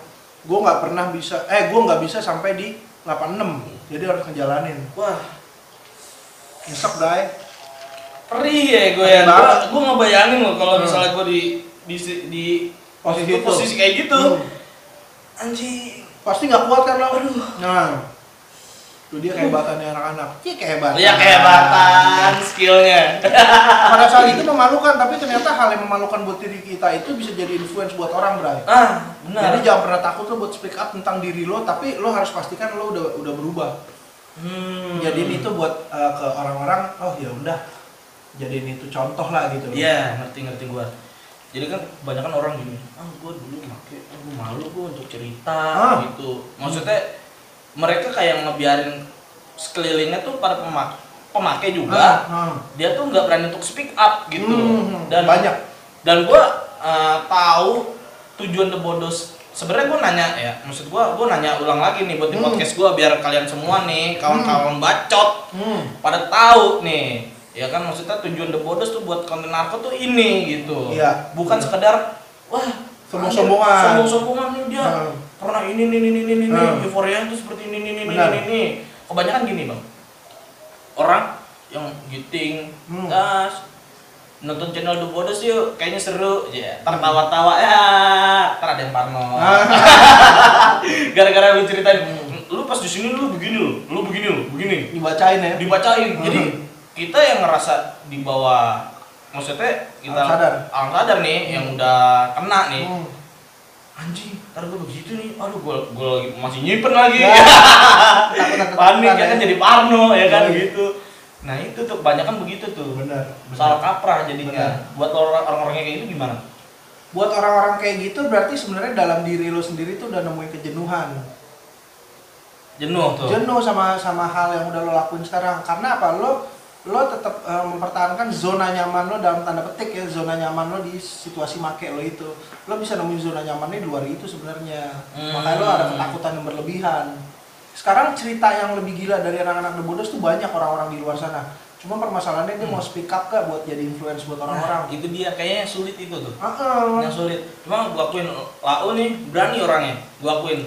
Speaker 2: gue nggak pernah bisa eh gue nggak bisa sampai di 86 jadi harus ngejalanin
Speaker 1: Wah
Speaker 2: nyesek guys
Speaker 1: perih ya gue ya. Gue
Speaker 2: Banget.
Speaker 1: gue nggak bayangin loh kalau
Speaker 2: Hmm.
Speaker 1: misalnya gue di di di
Speaker 2: Posisi itu.
Speaker 1: posisi kayak gitu.
Speaker 2: Hmm.
Speaker 1: Anjing.
Speaker 2: pasti nggak kuat kan lo aduh nah itu dia kehebatannya anak-anak iya kehebatan
Speaker 1: Iya kehebatan skillnya.
Speaker 2: pada saat itu memalukan tapi ternyata hal yang memalukan buat diri kita itu bisa jadi influence buat orang Bray
Speaker 1: Ah benar.
Speaker 2: jadi jangan pernah takut lo buat speak up tentang diri lo tapi lo harus pastikan lo udah udah berubah
Speaker 1: Hmm.
Speaker 2: jadiin itu buat uh, ke orang-orang oh ya udah jadiin itu contoh lah gitu
Speaker 1: Iya, ngerti ngerti gua. Jadi kan kebanyakan orang gini, ah gua dulu make, ah, gua malu gua untuk cerita
Speaker 2: Ah.
Speaker 1: gitu. Maksudnya mereka kayak ngebiarin sekelilingnya tuh para pemak pemakai juga.
Speaker 2: Ah, ah.
Speaker 1: Dia tuh nggak berani untuk speak up gitu.
Speaker 2: Hmm,
Speaker 1: Dan
Speaker 2: banyak
Speaker 1: dan gua eh, tahu tujuan The Bodos sebenarnya gua nanya ya, maksud gua gua nanya ulang lagi nih buat di
Speaker 2: Hmm.
Speaker 1: podcast gua biar kalian semua nih kawan-kawan bacot
Speaker 2: hmm.
Speaker 1: pada tahu nih ya kan maksudnya tujuan The Bodos tuh buat konten aku tuh ini gitu
Speaker 2: Iya.
Speaker 1: bukan sekedar wah
Speaker 2: Sombong-sombongan.
Speaker 1: anjir, sombong-sombongan nih dia
Speaker 2: Hmm.
Speaker 1: pernah ini ini ini ini ini
Speaker 2: Hmm.
Speaker 1: euforia tuh seperti ini ini ini
Speaker 2: Benar.
Speaker 1: ini ini kebanyakan gini bang orang yang giting
Speaker 2: Hmm.
Speaker 1: gas nonton channel The Bodos yuk kayaknya seru ya
Speaker 2: Hmm.
Speaker 1: tertawa-tawa ya ntar ada yang parno
Speaker 2: Ah,
Speaker 1: gara-gara lu ceritain "Hmm, lu pas di sini lu begini lu lu begini lu begini
Speaker 2: dibacain ya
Speaker 1: dibacain
Speaker 2: Hmm.
Speaker 1: jadi kita yang ngerasa di bawah maksudnya kita
Speaker 2: Alam sadar.
Speaker 1: alam sadar nih yang udah kena nih
Speaker 2: Hmm.
Speaker 1: anjing ntar gue begitu nih aduh gue gue lagi masih nyimpen lagi
Speaker 2: Ya. Takut-takut
Speaker 1: Iya. panik ya
Speaker 2: ya.
Speaker 1: kan jadi parno ya kan
Speaker 2: Iya.
Speaker 1: gitu nah itu tuh kebanyakan begitu tuh
Speaker 2: Benar, benar.
Speaker 1: salah kaprah jadinya
Speaker 2: Benar.
Speaker 1: buat orang- orang-orangnya kayak gitu gimana
Speaker 2: buat orang-orang kayak gitu berarti sebenarnya dalam diri lo sendiri tuh udah nemuin kejenuhan
Speaker 1: jenuh tuh
Speaker 2: jenuh sama sama hal yang udah lo lakuin sekarang karena apa lo lo tetap eh, mempertahankan zona nyaman lo dalam tanda petik ya zona nyaman lo di situasi make lo itu lo bisa nemuin zona nyamannya di luar itu sebenarnya
Speaker 1: Hmm.
Speaker 2: makanya lo ada ketakutan yang berlebihan sekarang cerita yang lebih gila dari anak-anak The Bodos tuh banyak orang-orang di luar sana cuma permasalahannya
Speaker 1: Hmm.
Speaker 2: dia mau speak up gak buat jadi influence
Speaker 1: Nah,
Speaker 2: buat orang-orang
Speaker 1: itu dia kayaknya sulit itu tuh
Speaker 2: Ah, ah.
Speaker 1: yang sulit cuma gua akuin lau nih berani orangnya gua akuin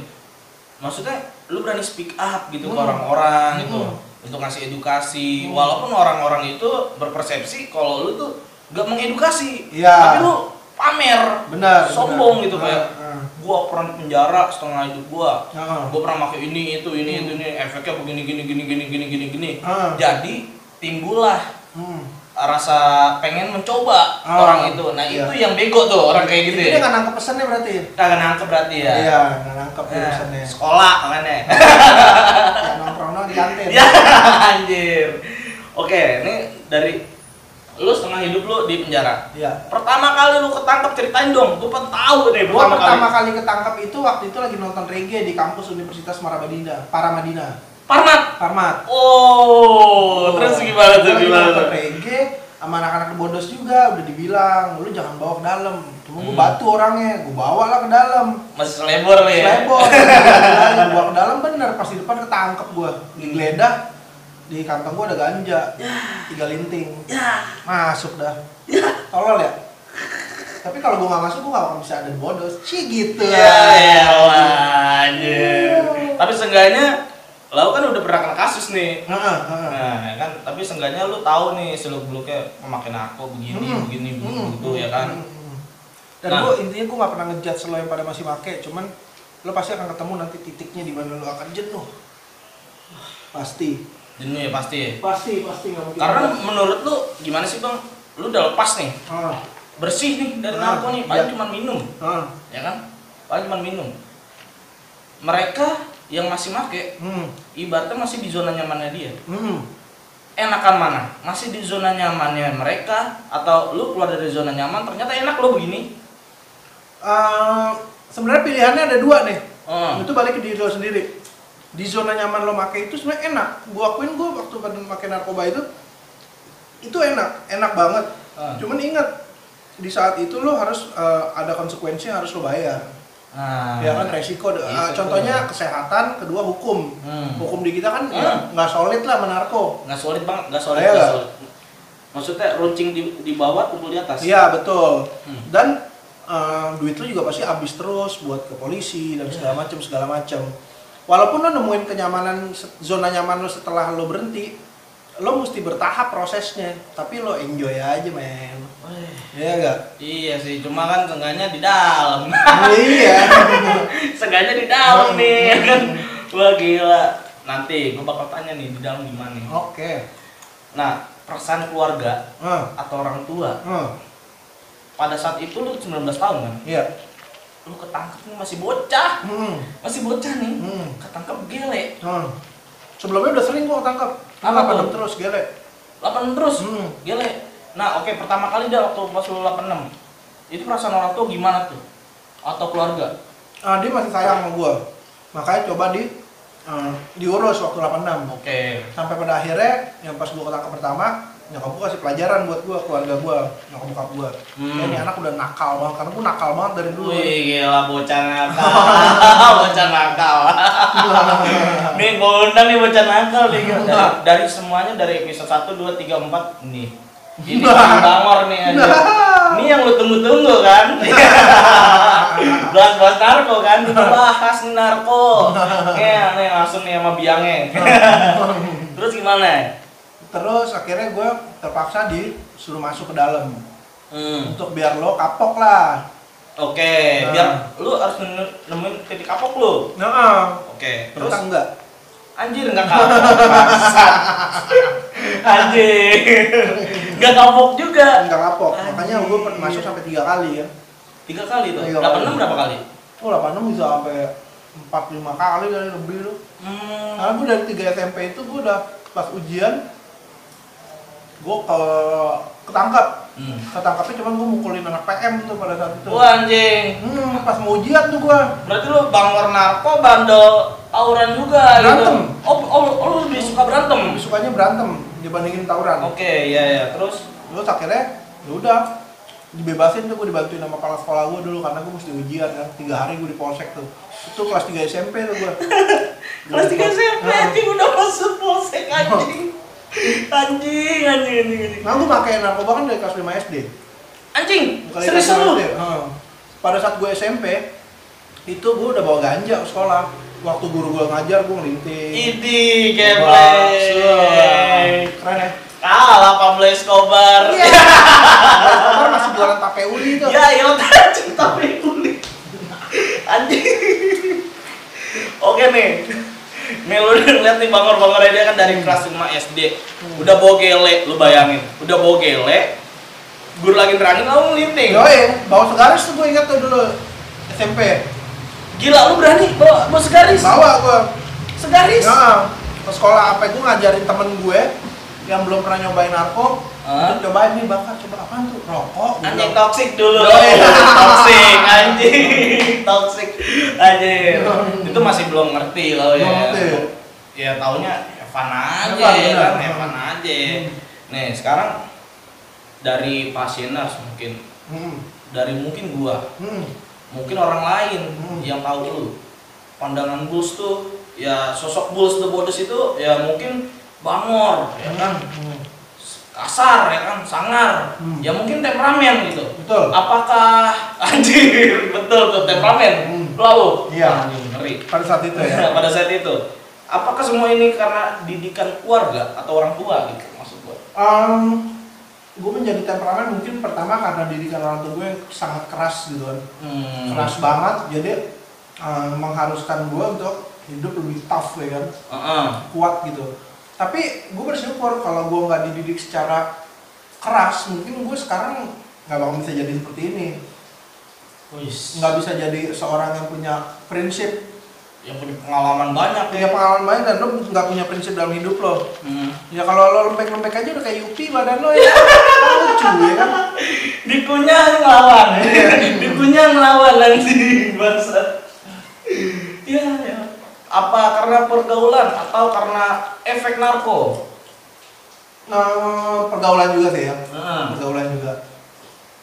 Speaker 1: maksudnya lu berani speak up gitu ke
Speaker 2: Hmm.
Speaker 1: orang-orang gitu
Speaker 2: Hmm.
Speaker 1: untuk ngasih edukasi
Speaker 2: Hmm.
Speaker 1: walaupun orang-orang itu berpersepsi kalau lu tuh gak mengedukasi
Speaker 2: Iya.
Speaker 1: tapi lu pamer
Speaker 2: benar
Speaker 1: sombong
Speaker 2: benar.
Speaker 1: gitu kayak
Speaker 2: Ah,
Speaker 1: gua pernah di penjara setengah hidup gua
Speaker 2: ah. Ah.
Speaker 1: gua pernah pakai ini itu ini
Speaker 2: Hmm.
Speaker 1: itu ini efeknya begini gini gini gini gini gini gini
Speaker 2: Ah.
Speaker 1: jadi timbullah
Speaker 2: Hmm.
Speaker 1: rasa pengen mencoba
Speaker 2: Ah.
Speaker 1: orang itu nah
Speaker 2: Iya.
Speaker 1: itu yang bego tuh orang kayak gitu
Speaker 2: Jadi
Speaker 1: ya
Speaker 2: dia nggak nangkep pesannya berarti?
Speaker 1: kagak nangkep berarti ya.
Speaker 2: Iya, nggak nangkep dia
Speaker 1: Eh,
Speaker 2: pesannya.
Speaker 1: sekolah makanya.
Speaker 2: Kayak nongkrong di kantin.
Speaker 1: ya anjir. Oke, ini dari lu setengah hidup lu di penjara.
Speaker 2: Iya.
Speaker 1: Pertama kali lu ketangkep ceritain dong, gue pengen tahu deh
Speaker 2: Gua pertama kali ketangkap itu waktu itu lagi nonton reggae di kampus Universitas Marabadinda, Paramadina,
Speaker 1: Parmat.
Speaker 2: Parmat.
Speaker 1: Oh, terus gimana tuh
Speaker 2: Gua lagi
Speaker 1: gimana?
Speaker 2: Nonton
Speaker 1: tuh?
Speaker 2: reggae sama anak-anak bodos juga udah dibilang lu jangan bawa ke dalam. Cuma gua
Speaker 1: Hmm.
Speaker 2: batu orangnya, gua bawa lah ke dalam.
Speaker 1: Masih selebor nih. ya?
Speaker 2: Selebor, gua bawa ke dalam bener pas di depan ketangkep gua, digeledah di kantong gua ada ganja, tiga linting.
Speaker 1: Ya.
Speaker 2: masuk dah tolol ya tapi kalau gue nggak masuk gue nggak akan bisa ada di bodos Ci gitu Iya.
Speaker 1: Ya elah, anjir. Tapi seenggaknya lo kan udah pernah kena kasus nih.
Speaker 2: Heeh, heeh.
Speaker 1: Nah, ya kan tapi seenggaknya lu tahu nih seluk beluknya memakai aku begini
Speaker 2: Hmm,
Speaker 1: begini begini
Speaker 2: hmm,
Speaker 1: gitu ya kan.
Speaker 2: hmm, hmm. dan
Speaker 1: Nah.
Speaker 2: gue intinya gue nggak pernah ngejudge lo yang pada masih make cuman lo pasti akan ketemu nanti titiknya di mana lo akan jenuh pasti
Speaker 1: Jenuh ya pasti. ya.
Speaker 2: pasti pasti nggak mungkin
Speaker 1: Karena menurut lu gimana sih bang? Lu udah lepas nih,
Speaker 2: Heeh,
Speaker 1: bersih nih dari
Speaker 2: Ah,
Speaker 1: narko nih, paling
Speaker 2: iya.
Speaker 1: cuma minum,
Speaker 2: heeh.
Speaker 1: ya kan? Paling cuma minum. Mereka yang masih make
Speaker 2: hmm
Speaker 1: ibaratnya masih di zona nyamannya dia.
Speaker 2: hmm
Speaker 1: Enakan mana? Masih di zona nyamannya mereka atau lu keluar dari zona nyaman ternyata enak lo begini.
Speaker 2: eh, sebenarnya pilihannya ada dua nih.
Speaker 1: Hmm.
Speaker 2: Itu balik ke diri lo sendiri. Di zona nyaman lo make itu sebenarnya enak. Gua akuin gua waktu pada pakai narkoba itu itu enak, enak banget.
Speaker 1: Hmm.
Speaker 2: Cuman ingat di saat itu lo harus eh, ada konsekuensi yang harus lo bayar.
Speaker 1: Nah,
Speaker 2: Ya kan resiko. eh,
Speaker 1: Itu
Speaker 2: contohnya kesehatan, kedua hukum.
Speaker 1: Iya, Hmm.
Speaker 2: Hukum di kita kan ya,
Speaker 1: Hmm.
Speaker 2: nggak solid lah menarko.
Speaker 1: nggak solid banget, nggak solid,
Speaker 2: Iya
Speaker 1: nggak
Speaker 2: nggak?
Speaker 1: solid. Maksudnya runcing di, di bawah, pukul di atas.
Speaker 2: Iya betul.
Speaker 1: Hmm.
Speaker 2: Dan eh, duit lu juga pasti habis terus buat ke polisi dan
Speaker 1: Iya.
Speaker 2: segala macam segala macam. Walaupun lo nemuin kenyamanan se- zona nyaman lo setelah lo berhenti, lo mesti bertahap prosesnya. Tapi lo enjoy aja men.
Speaker 1: Weh,
Speaker 2: Iya enggak?
Speaker 1: Iya sih, cuma kan seenggaknya di dalam.
Speaker 2: iya.
Speaker 1: seenggaknya di
Speaker 2: Hmm.
Speaker 1: dalam nih, ya kan. Wah gila. Nanti gue bakal tanya nih di dalam gimana nih.
Speaker 2: Oke.
Speaker 1: Nah, perasaan keluarga
Speaker 2: Heeh.
Speaker 1: atau orang tua
Speaker 2: Heeh.
Speaker 1: pada saat itu lu 19 tahun kan?
Speaker 2: Iya.
Speaker 1: Lu ketangkep nih masih bocah.
Speaker 2: Hmm.
Speaker 1: Masih bocah nih.
Speaker 2: Hmm.
Speaker 1: Ketangkep gele.
Speaker 2: Hmm. Sebelumnya udah sering gua tangkap.
Speaker 1: Apa tuh?
Speaker 2: 86 terus gele.
Speaker 1: 86 terus.
Speaker 2: Hmm.
Speaker 1: Gele. Nah, oke pertama kali dah waktu pas lu 86. Itu perasaan orang tua gimana tuh? Atau keluarga?
Speaker 2: Ah, dia masih sayang sama gua. Makanya coba di eh, diurus waktu 86.
Speaker 1: Oke.
Speaker 2: sampai pada akhirnya yang pas gua ketangkap pertama nyokap gua kasih pelajaran buat gua keluarga gua nyokap bokap gua
Speaker 1: Hmm.
Speaker 2: Ya, ini anak udah nakal banget karena gua nakal banget dari dulu
Speaker 1: Wih, gila bocah nakal. bocah nakal. nih gue undang nih bocah nakal nih. gila. Nah, Dari, dari semuanya dari episode 1 2 3 4 nih. Ini Bang Bangor nih aja. Ini yang lu tunggu-tunggu kan? Bahas bahas narko kan? Kita bahas nih narko. Nih, nih langsung nih sama biangnya. Terus gimana?
Speaker 2: terus akhirnya gua terpaksa disuruh masuk ke dalam
Speaker 1: Hmm.
Speaker 2: untuk biar lo kapok lah
Speaker 1: Oke, biar lu harus nem- nemuin titik kapok lu.
Speaker 2: nah
Speaker 1: Oke,
Speaker 2: terus
Speaker 1: terus
Speaker 2: enggak
Speaker 1: Anjir nggak kapok. bangsat. Anjir. Nggak kapok juga.
Speaker 2: enggak kapok
Speaker 1: Anjir.
Speaker 2: makanya gua pernah masuk sampai tiga kali ya
Speaker 1: Tiga kali tuh.
Speaker 2: Tiga
Speaker 1: Delapan
Speaker 2: kali.
Speaker 1: enam berapa kali?
Speaker 2: oh 86 bisa sampai empat lima kali dari lebih lo
Speaker 1: Hmm.
Speaker 2: Karena gue dari 3 SMP itu gue udah pas ujian gue ke ketangkap.
Speaker 1: Hmm.
Speaker 2: Ketangkapnya cuman gue mukulin anak PM tuh pada saat itu.
Speaker 1: Wah anjing.
Speaker 2: Hmm, pas mau ujian tuh gue.
Speaker 1: Berarti lu bangor narko bandel tawuran juga
Speaker 2: Berantem.
Speaker 1: gitu. Oh, oh, oh, lu lebih suka berantem.
Speaker 2: Sukanya berantem dibandingin tawuran.
Speaker 1: Oke, iya ya. Terus
Speaker 2: Terus akhirnya ya udah dibebasin tuh gue dibantuin sama kepala sekolah gue dulu karena gue mesti ujian kan tiga hari gue di polsek tuh itu kelas 3 SMP tuh Nah, gue
Speaker 1: kelas tiga SMP anjing udah masuk polsek anjing. Anjing, anjing, anjing, anjing.
Speaker 2: nah gue pakai narkoba kan dari kelas 5 SD
Speaker 1: Anjing,
Speaker 2: Bukan
Speaker 1: serius
Speaker 2: itu
Speaker 1: lu?
Speaker 2: deh. Heeh. Pada saat gue SMP itu gue udah bawa ganja ke sekolah. Waktu guru gue ngajar gue ngelinting.
Speaker 1: Idi,
Speaker 2: Wah,
Speaker 1: gameplay.
Speaker 2: Keren ya.
Speaker 1: Kalah Pablo Escobar.
Speaker 2: Iya. Sekarang masih jualan tape uli itu.
Speaker 1: Ya, ya udah cinta kulit. Anjing. Oke nih. Nih lu udah ngeliat nih bangor bangor dia kan dari kelas 5 SD.
Speaker 2: Hmm.
Speaker 1: Udah bawa gele, lu bayangin. Udah bawa gele. Guru lagi terangin kamu ngelinting.
Speaker 2: Yoi, bawa segaris tuh gue ingat tuh dulu SMP.
Speaker 1: Gila lu berani bawa bawa segaris.
Speaker 2: Bawa gue.
Speaker 1: Segaris.
Speaker 2: Heeh. Ke sekolah apa gue ngajarin temen gue yang belum pernah nyobain narko.
Speaker 1: Hah? Kan
Speaker 2: Untuk cobain nih bakar coba apaan tuh? Rokok. gua
Speaker 1: Anjing
Speaker 2: bilang.
Speaker 1: toksik dulu.
Speaker 2: Doi.
Speaker 1: toksik anjing. toksik anjing. Itu masih belum ngerti loh ya.
Speaker 2: Belum ngerti.
Speaker 1: Ya taunya Evan aja
Speaker 2: Evan, benar. Hmm.
Speaker 1: kan, Evan aja. Nih, sekarang dari pasieners mungkin
Speaker 2: Hmm.
Speaker 1: dari mungkin gua,
Speaker 2: Hmm.
Speaker 1: mungkin orang lain
Speaker 2: Hmm.
Speaker 1: yang tahu lu. Pandangan Bulls tuh ya sosok Bulls the Bodes itu ya mungkin bangor ya kan
Speaker 2: Hmm.
Speaker 1: kasar ya kan sangar
Speaker 2: Hmm.
Speaker 1: ya mungkin temperamen gitu
Speaker 2: Betul.
Speaker 1: apakah anjir betul tuh temperamen
Speaker 2: Hmm.
Speaker 1: lalu
Speaker 2: Iya.
Speaker 1: Anjing, ngeri
Speaker 2: Pada saat itu ya.
Speaker 1: pada saat itu Gitu apakah semua ini karena didikan keluarga atau orang tua gitu maksud gua
Speaker 2: Um, gue menjadi temperamen mungkin pertama karena didikan orang tua gue sangat keras gitu kan
Speaker 1: hmm.
Speaker 2: keras banget jadi um, mengharuskan gue untuk hidup lebih tough ya kan
Speaker 1: Heeh.
Speaker 2: kuat gitu tapi gue bersyukur kalau gue nggak dididik secara keras mungkin gue sekarang nggak bakal bisa jadi seperti ini
Speaker 1: Wis.
Speaker 2: nggak bisa jadi seorang yang punya prinsip
Speaker 1: yang punya pengalaman banyak ya
Speaker 2: punya pengalaman banyak dan lo nggak punya prinsip dalam hidup lo
Speaker 1: hmm.
Speaker 2: ya kalau lo lembek-lembek aja udah kayak Yupi badan lo ya Kan lucu ya kan
Speaker 1: dikunyah ngelawan Iya. dikunyah ngelawan nanti bangsa ya, ya apa karena pergaulan atau karena efek narko
Speaker 2: nah, pergaulan juga sih ya
Speaker 1: Heeh.
Speaker 2: pergaulan juga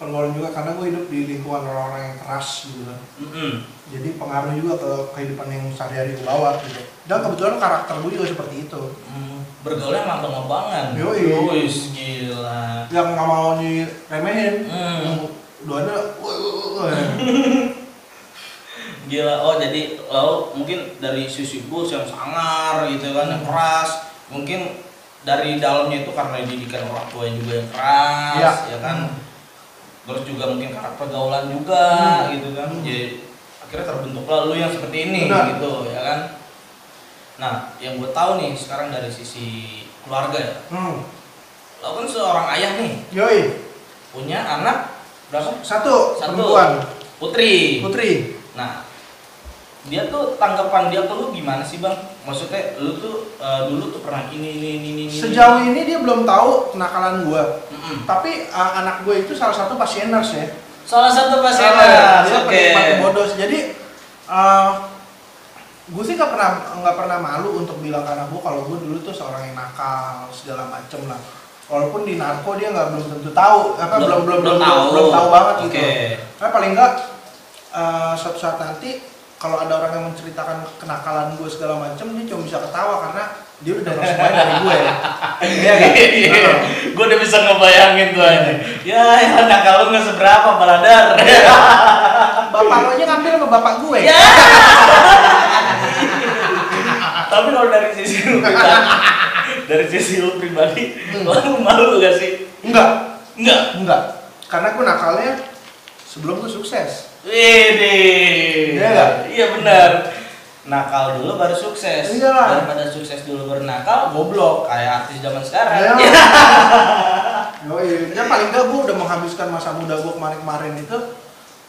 Speaker 2: pergaulan juga karena gue hidup di lingkungan orang-orang yang keras gitu kan
Speaker 1: Mm-mm.
Speaker 2: jadi pengaruh juga ke kehidupan yang sehari-hari gue bawa gitu dan kebetulan karakter gue juga seperti itu
Speaker 1: Hmm, bergaulnya sama abang-abangan
Speaker 2: Yoi.
Speaker 1: Yoi, gila
Speaker 2: yang nggak mau diremehin
Speaker 1: Hmm.
Speaker 2: yang doanya "Woi, woi, woi."
Speaker 1: gila oh jadi lo mungkin dari sisi bus yang sangar gitu kan yang keras mungkin dari dalamnya itu karena didikan orang tua yang juga yang
Speaker 2: Iya.
Speaker 1: keras ya kan terus juga mungkin karena pergaulan juga
Speaker 2: Hmm.
Speaker 1: gitu kan
Speaker 2: Hmm.
Speaker 1: jadi akhirnya terbentuklah lu yang seperti ini
Speaker 2: Benar.
Speaker 1: gitu ya kan nah yang gue tahu nih sekarang dari sisi keluarga ya
Speaker 2: hmm.
Speaker 1: lo kan seorang ayah nih
Speaker 2: yoi
Speaker 1: punya anak berapa
Speaker 2: satu,
Speaker 1: Satu.
Speaker 2: perempuan
Speaker 1: putri
Speaker 2: putri
Speaker 1: Nah, dia tuh tanggapan dia ke lu gimana sih bang? Maksudnya lu tuh eh, dulu tuh pernah ini ini ini ini. ini.
Speaker 2: sejauh ini dia belum tahu kenakalan gue
Speaker 1: Mm-mm.
Speaker 2: tapi uh, anak gue itu salah satu pasieners ya
Speaker 1: Salah satu pas
Speaker 2: Salah, Ah, dia
Speaker 1: oke.
Speaker 2: penikmat bodos jadi uh, gue sih gak pernah nggak pernah malu untuk bilang karena gue kalau gue dulu tuh seorang yang nakal segala macem lah walaupun di narko dia nggak belum tentu tahu apa belum belum belum belum, belum tahu banget
Speaker 1: Oke.
Speaker 2: gitu Karena paling enggak eh, suatu saat nanti kalau ada orang yang menceritakan kenakalan gue segala macam dia cuma bisa ketawa karena dia udah dapat semuanya dari gue ya. Iya kan? Nah,
Speaker 1: Gue udah bisa ngebayangin tuh aja. Ya, ya nakal lu nggak seberapa baladar.
Speaker 2: Nah, Bapak lo aja ngambil sama bapak gue.
Speaker 1: Ya. Tapi kalau dari sisi lu pribadi, dari sisi lu pribadi,
Speaker 2: Hmm.
Speaker 1: lu malu gak sih?
Speaker 2: Enggak,
Speaker 1: Enggak.
Speaker 2: enggak. Karena gue nakalnya sebelum gue sukses.
Speaker 1: Widih.
Speaker 2: Iya nggak?
Speaker 1: Iya benar. Nakal dulu baru sukses.
Speaker 2: Iya lah.
Speaker 1: Daripada sukses dulu baru nakal,
Speaker 2: Goblok.
Speaker 1: kayak artis zaman sekarang. Iya,
Speaker 2: Ya. Yoi. Ya paling enggak gue udah menghabiskan masa muda gue kemarin-kemarin itu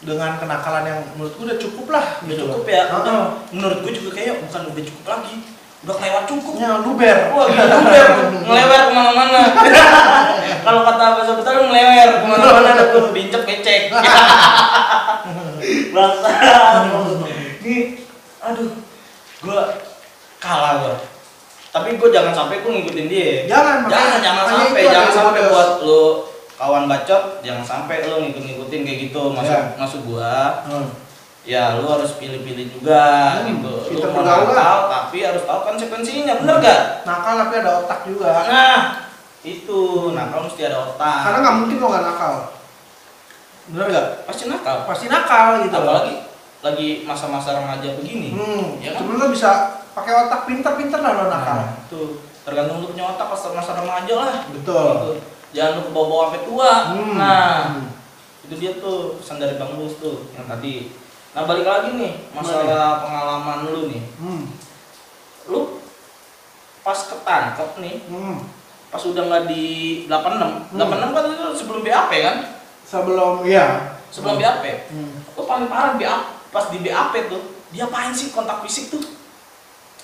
Speaker 2: dengan kenakalan yang menurut gue udah cukup lah
Speaker 1: Udah
Speaker 2: gitu.
Speaker 1: cukup
Speaker 2: loh.
Speaker 1: ya.
Speaker 2: Heeh.
Speaker 1: Udah, menurut gue juga kayaknya bukan udah cukup lagi. Udah kelewat cukup.
Speaker 2: Ya, luber.
Speaker 1: Wah, gitu Ber. ngelewer kemana-mana. Kalau kata bahasa Betawi ngelewer kemana-mana ada tuh bincep becek. Bangsa. Nih, aduh, gua kalah gua. Tapi gua jangan sampai gua ngikutin dia. jangan,
Speaker 2: Jangan, makanya-
Speaker 1: jangan
Speaker 2: makanya
Speaker 1: sampai,
Speaker 2: itu
Speaker 1: jangan
Speaker 2: ada
Speaker 1: sampai
Speaker 2: modus.
Speaker 1: buat lu kawan bacot, jangan sampai lu ngikut-ngikutin kayak gitu. Masuk,
Speaker 2: Ya.
Speaker 1: masuk gua
Speaker 2: Hmm.
Speaker 1: ya lu harus pilih-pilih juga
Speaker 2: Hmm,
Speaker 1: gitu
Speaker 2: kita
Speaker 1: lu mau
Speaker 2: bergaul lah.
Speaker 1: nakal tapi harus tahu konsekuensinya bener gak?
Speaker 2: nakal tapi ada otak juga
Speaker 1: nah itu nakal mesti ada otak
Speaker 2: karena nggak mungkin lo nggak nakal bener nggak
Speaker 1: pasti nakal
Speaker 2: pasti nakal gitu loh
Speaker 1: apalagi lagi masa-masa remaja begini
Speaker 2: hmm,
Speaker 1: ya kan?
Speaker 2: sebelum lo bisa pakai otak pinter-pinter lah lo nakal
Speaker 1: Nah, itu tergantung lu punya otak pas masa remaja lah
Speaker 2: betul
Speaker 1: Gitu. jangan lu kebawa-bawa sampai tua
Speaker 2: Hmm.
Speaker 1: nah
Speaker 2: Hmm.
Speaker 1: itu dia tuh pesan dari bang Bus tuh yang tadi nah balik lagi nih masalah pengalaman lu nih
Speaker 2: Hmm.
Speaker 1: lu pas ketangkep nih
Speaker 2: Hmm.
Speaker 1: pas udah nggak di 86
Speaker 2: Hmm.
Speaker 1: 86 kan itu sebelum BAP kan
Speaker 2: sebelum ya
Speaker 1: sebelum
Speaker 2: Hmm.
Speaker 1: BAP
Speaker 2: Hmm.
Speaker 1: lo paling parah BAP pas di BAP tuh dia apain sih kontak fisik tuh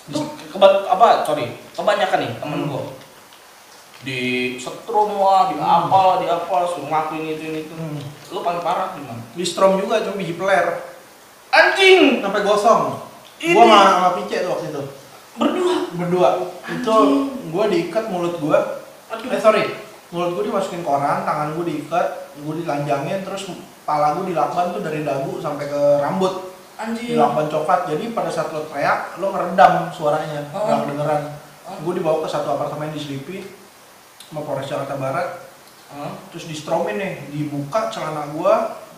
Speaker 1: tuh keba apa sorry kebanyakan nih temen
Speaker 2: Hmm.
Speaker 1: gua di setrum lah di
Speaker 2: Hmm.
Speaker 1: apa lah di apa suruh ngakuin itu ini itu
Speaker 2: Hmm.
Speaker 1: lo paling parah gimana
Speaker 2: di strom juga cuma biji peler
Speaker 1: anjing
Speaker 2: sampai gosong
Speaker 1: Ini.
Speaker 2: gua sama, sama pice tuh waktu itu
Speaker 1: berdua
Speaker 2: berdua itu
Speaker 1: Anjing.
Speaker 2: gua diikat mulut gua
Speaker 1: aduh
Speaker 2: Eh sorry, mulut gue dimasukin koran, tangan gue diikat, gue dilanjangin, terus pala gue dilakban tuh dari dagu sampai ke rambut,
Speaker 1: anjing
Speaker 2: dilakban coklat. Jadi pada saat lo teriak, lo ngeredam suaranya, nggak
Speaker 1: Oh.
Speaker 2: kedengeran.
Speaker 1: Oh.
Speaker 2: Gue dibawa ke satu apartemen di Selipi, sama Polres Jakarta Barat,
Speaker 1: Hah?
Speaker 2: terus distromin nih, dibuka celana gue,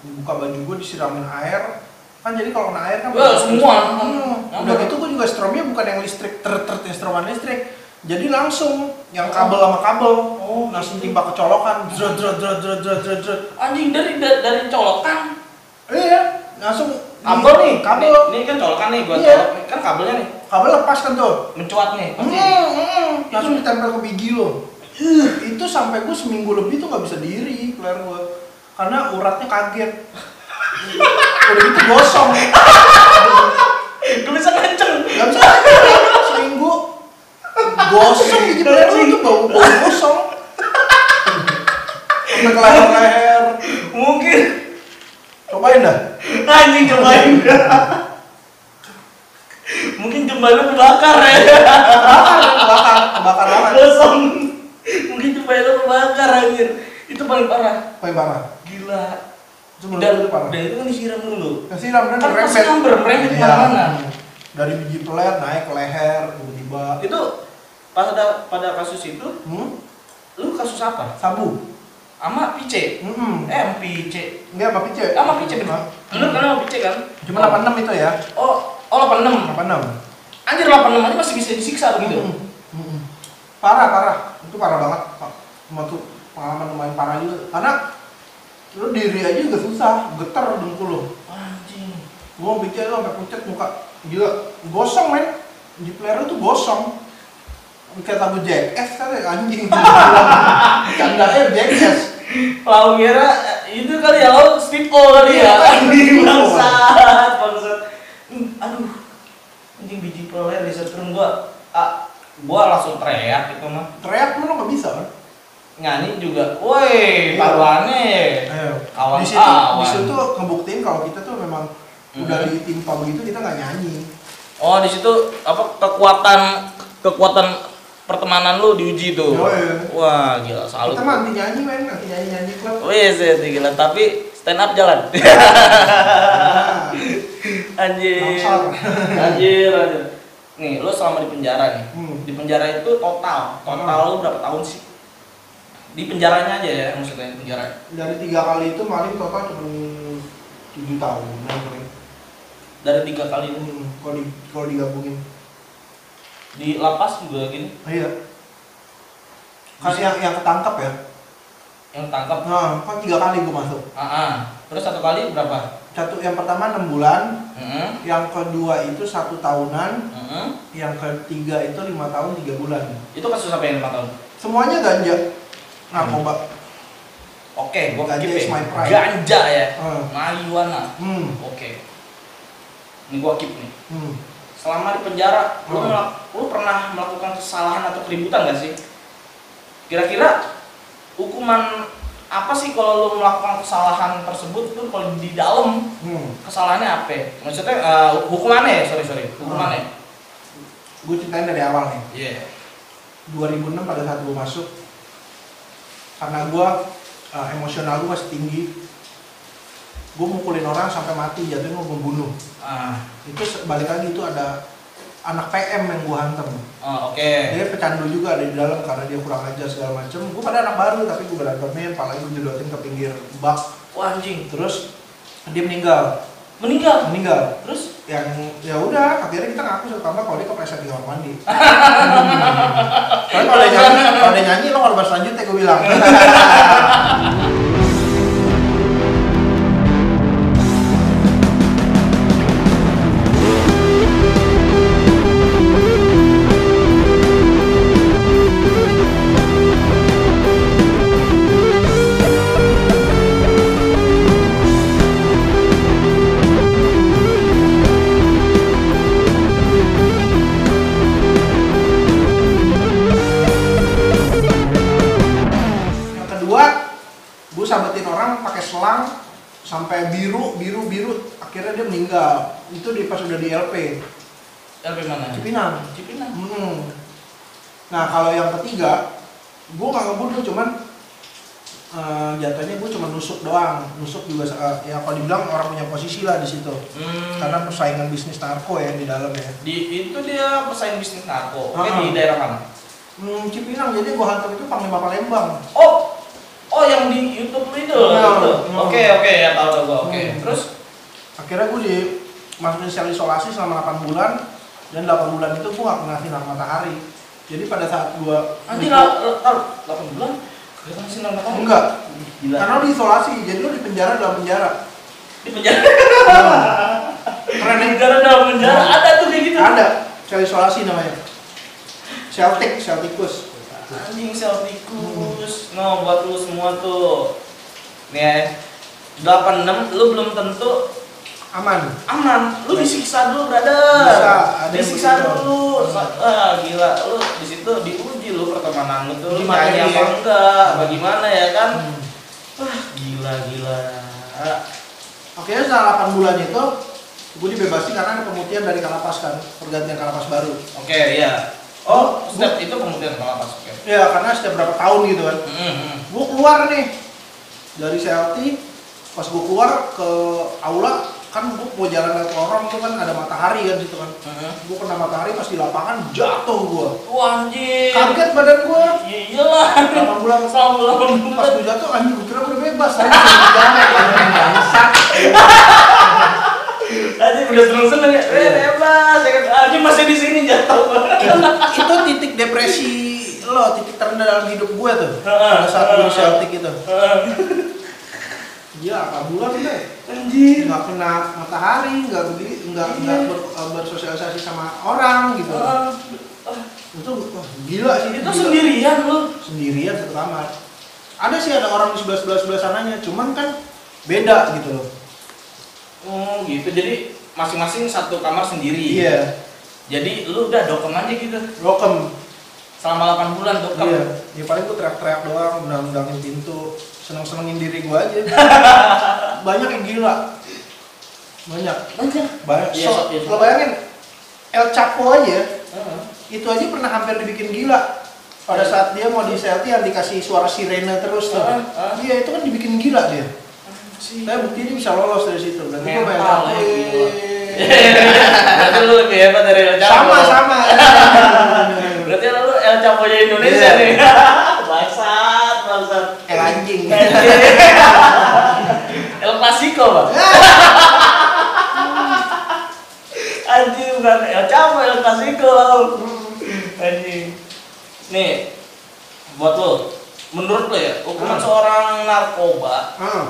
Speaker 2: dibuka baju gue, disiramin air. Kan jadi kalau kena air kan
Speaker 1: Wah, semua.
Speaker 2: Hmm, udah gitu gue juga stromnya bukan yang listrik ter ter ter- stroman listrik. Jadi langsung yang kabel sama kabel
Speaker 1: oh
Speaker 2: langsung timba kecolokan jrot jrot jrot jrot jrot jrot jrot
Speaker 1: anjing dari da- dari colokan
Speaker 2: iya langsung
Speaker 1: kabel nih
Speaker 2: kabel
Speaker 1: ini, ini kan colokan nih gua
Speaker 2: Iya.
Speaker 1: colok nih. kan kabelnya nih
Speaker 2: kabel lepas kan tuh
Speaker 1: mencuat nih
Speaker 2: Hmm,
Speaker 1: pasti eh.
Speaker 2: hmm, langsung ditempel ke gigi lo itu sampai gue seminggu lebih tuh nggak bisa diri keluar gue karena uratnya kaget udah gitu gosong
Speaker 1: Gue bisa kenceng.
Speaker 2: nggak bisa gosong gigi peler lu tuh bau bau gosong sampai ke leher leher
Speaker 1: mungkin
Speaker 2: cobain dah
Speaker 1: anjing cobain mungkin jembal lu kebakar ya
Speaker 2: kebakar kebakar kebakar banget
Speaker 1: kosong mungkin jembal lu kebakar anjir itu paling parah
Speaker 2: paling parah
Speaker 1: gila
Speaker 2: itu menurut
Speaker 1: dan,
Speaker 2: gue itu parah
Speaker 1: dan itu kan disiram dulu
Speaker 2: kasih ram dan
Speaker 1: Kan pasti
Speaker 2: merembet.
Speaker 1: nyamber, merembet
Speaker 2: Iya.
Speaker 1: kemana-mana.
Speaker 2: dari biji peler naik ke leher tiba-tiba
Speaker 1: itu pas ada pada kasus itu
Speaker 2: hmm?
Speaker 1: lu kasus apa
Speaker 2: sabu
Speaker 1: sama pice
Speaker 2: hmm.
Speaker 1: eh pice
Speaker 2: ini apa pice
Speaker 1: sama Oh, pice bener lu kan sama pice kan
Speaker 2: cuma 86 itu ya
Speaker 1: oh oh 86
Speaker 2: 86
Speaker 1: anjir 86 aja masih bisa disiksa gitu
Speaker 2: Mm-mm. Mm-mm. Parah, parah. Itu parah banget. Pak. Cuma tuh pengalaman lumayan parah juga. Karena lu diri aja juga susah, getar dengkul lu.
Speaker 1: anjing
Speaker 2: Gua pikir lu sampai pucat muka. Gila, gosong men. Di player lu tuh gosong. Kayak lagu jackass kan anjing. Canda eh jackass.
Speaker 1: Lau ngira eh, itu kali ya, lau speak all kali ya.
Speaker 2: Iya,
Speaker 1: Anjing
Speaker 2: speak all.
Speaker 1: bangsat, bangsat. Hmm, Aduh, anjing biji peler di setrum gua. Ah, gua langsung teriak gitu mah.
Speaker 2: Teriak lu nggak bisa kan?
Speaker 1: Nyanyi juga, woi, ya.
Speaker 2: Iya.
Speaker 1: paruannya.
Speaker 2: Ayo.
Speaker 1: Kawan
Speaker 2: Di situ, di
Speaker 1: kawan.
Speaker 2: situ ngebuktiin kalau kita tuh memang udah
Speaker 1: Mhm.
Speaker 2: di tim top gitu kita nggak nyanyi.
Speaker 1: Oh, di situ apa kekuatan kekuatan pertemanan lu diuji tuh.
Speaker 2: Yoi.
Speaker 1: Wah, gila salut.
Speaker 2: Kita mah anti nyanyi men, anti nyanyi nyanyi klub.
Speaker 1: Wih, sih, iya, gila. Tapi stand up jalan.
Speaker 2: Nah.
Speaker 1: anjir.
Speaker 2: Bangsat.
Speaker 1: anjir, anjir. Nih, lu selama di penjara nih.
Speaker 2: Hmm.
Speaker 1: Di penjara itu total, total lu berapa tahun sih? Di penjaranya aja ya, maksudnya penjara.
Speaker 2: dari tiga kali itu maling total cuma tujuh tahun maling.
Speaker 1: Dari tiga kali ini
Speaker 2: Hmm, kalau di kalau digabungin
Speaker 1: di lapas juga gini,
Speaker 2: Ah, iya kan yang yang ketangkap ya
Speaker 1: yang tangkap.
Speaker 2: nah kan tiga kali gue masuk
Speaker 1: Ah, ah. terus satu kali berapa? Hmm,
Speaker 2: satu yang pertama enam bulan
Speaker 1: Heeh.
Speaker 2: yang kedua itu satu tahunan
Speaker 1: Heeh.
Speaker 2: yang ketiga itu lima tahun tiga bulan
Speaker 1: hmm. Itu kasus apa yang lima tahun?
Speaker 2: semuanya ganja narkoba
Speaker 1: Oke, gua
Speaker 2: Ganja
Speaker 1: keep
Speaker 2: is
Speaker 1: ya.
Speaker 2: my pride.
Speaker 1: Ganja ya.
Speaker 2: Hmm.
Speaker 1: Marijuana.
Speaker 2: hmm
Speaker 1: Oke. Ini gua keep nih.
Speaker 2: hmm
Speaker 1: selama di penjara lu,
Speaker 2: Hmm.
Speaker 1: melak- lu pernah melakukan kesalahan atau keributan gak sih kira-kira hukuman apa sih kalau lu melakukan kesalahan tersebut tuh kalau di dalam
Speaker 2: hmm
Speaker 1: kesalahannya apa ya? maksudnya eh, hukumannya ya sorry sorry hukumannya
Speaker 2: Hmm. gue ceritain dari awal nih
Speaker 1: iya
Speaker 2: 2006 pada saat gue masuk karena gue uh, emosional gue masih tinggi gue mukulin orang sampai mati jatuhnya gue membunuh
Speaker 1: ah
Speaker 2: itu se- balik lagi itu ada anak PM yang gue hantem
Speaker 1: oh, oke
Speaker 2: dia pecandu juga ada di dalam karena dia kurang ajar segala macem gue pada anak baru tapi gue berantemin apalagi gue jedotin ke pinggir bak
Speaker 1: wah anjing
Speaker 2: terus dia meninggal
Speaker 1: meninggal
Speaker 2: meninggal
Speaker 1: terus
Speaker 2: yang ya udah akhirnya kita ngaku pertama kalau dia kepleset di kamar mandi Soalnya kalau dia nyanyi kalau dia nyanyi lo korban selanjutnya gue ya, bilang yang kedua gue sabetin orang pakai selang sampai biru biru biru akhirnya dia meninggal itu di pas udah di LP
Speaker 1: LP mana
Speaker 2: Cipinang
Speaker 1: Cipinang
Speaker 2: hmm. nah kalau yang ketiga gue nggak ngebunuh cuman eh, jatuhnya gue cuma nusuk doang nusuk juga eh, ya kalau dibilang orang punya posisi lah di situ
Speaker 1: hmm.
Speaker 2: karena persaingan bisnis narko ya di dalam ya
Speaker 1: di itu dia pesaing bisnis narko oke
Speaker 2: Ah.
Speaker 1: di daerah mana
Speaker 2: Hmm, Cipinang, jadi gua hantam itu Panglima Palembang.
Speaker 1: Oh, oh yang di YouTube lu itu.
Speaker 2: Iya,
Speaker 1: itu.
Speaker 2: iya.
Speaker 1: Oke, oke, ya tahu tahu gua. Oke.
Speaker 2: Hmm.
Speaker 1: Terus
Speaker 2: Akhirnya gua di masukin sel isolasi selama 8 bulan dan 8 bulan itu gua gak kena sinar matahari. Jadi pada saat gua
Speaker 1: anjir lah, taruh 8 bulan kelihatan sinar matahari.
Speaker 2: enggak,
Speaker 1: Gila.
Speaker 2: karena lu isolasi, jadi lu di penjara dalam penjara.
Speaker 1: di penjara.
Speaker 2: Keren ya?
Speaker 1: Negara dalam penjara ada tuh kayak gitu.
Speaker 2: Ada sel isolasi namanya. Celtic, Celticus.
Speaker 1: Anjing sel tikus. No, buat lu semua tuh. Nih ya. 86 lu belum tentu
Speaker 2: aman
Speaker 1: aman lu disiksa dulu
Speaker 2: Iya. Bisa,
Speaker 1: brother
Speaker 2: ada yang
Speaker 1: disiksa
Speaker 2: begitu.
Speaker 1: dulu Sa- ah, gila lu di situ diuji lu pertemanan lu tuh lu
Speaker 2: Gimana
Speaker 1: nyanyi
Speaker 2: ini
Speaker 1: apa
Speaker 2: ya?
Speaker 1: enggak bagaimana ya kan
Speaker 2: Hmm.
Speaker 1: wah gila gila
Speaker 2: Oke, setelah 8 bulan itu gue dibebasin karena ada pemutihan dari kalapas kan, pergantian kalapas baru.
Speaker 1: oke ya oh step itu kemudian kalau pas oke
Speaker 2: Ya, karena setiap berapa tahun gitu kan.
Speaker 1: Mm, mm.
Speaker 2: Gue keluar nih dari CLT, pas gue keluar ke aula kan gue mau jalan ke lorong tuh kan ada matahari kan situ kan.
Speaker 1: Mm.
Speaker 2: Gue kena matahari pas di lapangan jatuh gue.
Speaker 1: wah anjir
Speaker 2: Kaget badan gue.
Speaker 1: Iya- iyalah
Speaker 2: 8 bulan
Speaker 1: sama lu
Speaker 2: pas gue jatuh anjing gue kira gue udah bebas anjing gue jalan anjing bangsat.
Speaker 1: Aja udah seneng seneng ya, eh bebas, ya kan? Aja masih di sini jatuh.
Speaker 2: itu, itu titik depresi lo titik terendah dalam hidup gue tuh pada saat gue di Celtic itu gila apa bulan deh
Speaker 1: Anjir.
Speaker 2: nggak kena matahari nggak begini nggak
Speaker 1: Iya.
Speaker 2: nggak ber- eh, bersosialisasi sama orang gitu
Speaker 1: Ah,
Speaker 2: itu wah, gila sih
Speaker 1: Itu
Speaker 2: gila.
Speaker 1: sendirian lu.
Speaker 2: sendirian satu kamar ada sih ada orang di sebelah sebelah sebelah sananya cuman kan beda gitu loh
Speaker 1: Oh gitu, jadi masing-masing satu kamar sendiri.
Speaker 2: iya
Speaker 1: Jadi lu udah dokem aja gitu
Speaker 2: rokem
Speaker 1: selama 8 bulan dokem.
Speaker 2: iya ya paling gue teriak-teriak doang undang-undangin pintu seneng-senengin diri gue aja banyak yang gila banyak
Speaker 1: Aja.
Speaker 2: Banyak.
Speaker 1: Iya,
Speaker 2: so,
Speaker 1: iya, iya.
Speaker 2: lo bayangin El Chapo aja, itu aja pernah hampir dibikin gila. Pada
Speaker 1: Iya.
Speaker 2: saat dia mau di selfie yang dikasih suara sirena terus tuh.
Speaker 1: Heeh, heeh.
Speaker 2: Iya, itu kan dibikin gila dia. Tapi bukti dia bisa lolos dari situ. Dan gue
Speaker 1: Mental
Speaker 2: bayangin,
Speaker 1: ya,
Speaker 2: "Wih."
Speaker 1: gila. Berarti lu lebih hebat dari El Chapo.
Speaker 2: Iya. sama sama.
Speaker 1: Berarti kan lu El Chapo nya Indonesia
Speaker 2: Iya.
Speaker 1: nih. Bangsat, bangsat.
Speaker 2: El anjing.
Speaker 1: El Clasico, Bang. Anjing bukan El Chapo, El Clasico. Anjing. Nih, buat lo, menurut lo ya, hukuman
Speaker 2: Hmm.
Speaker 1: seorang narkoba,
Speaker 2: Ah,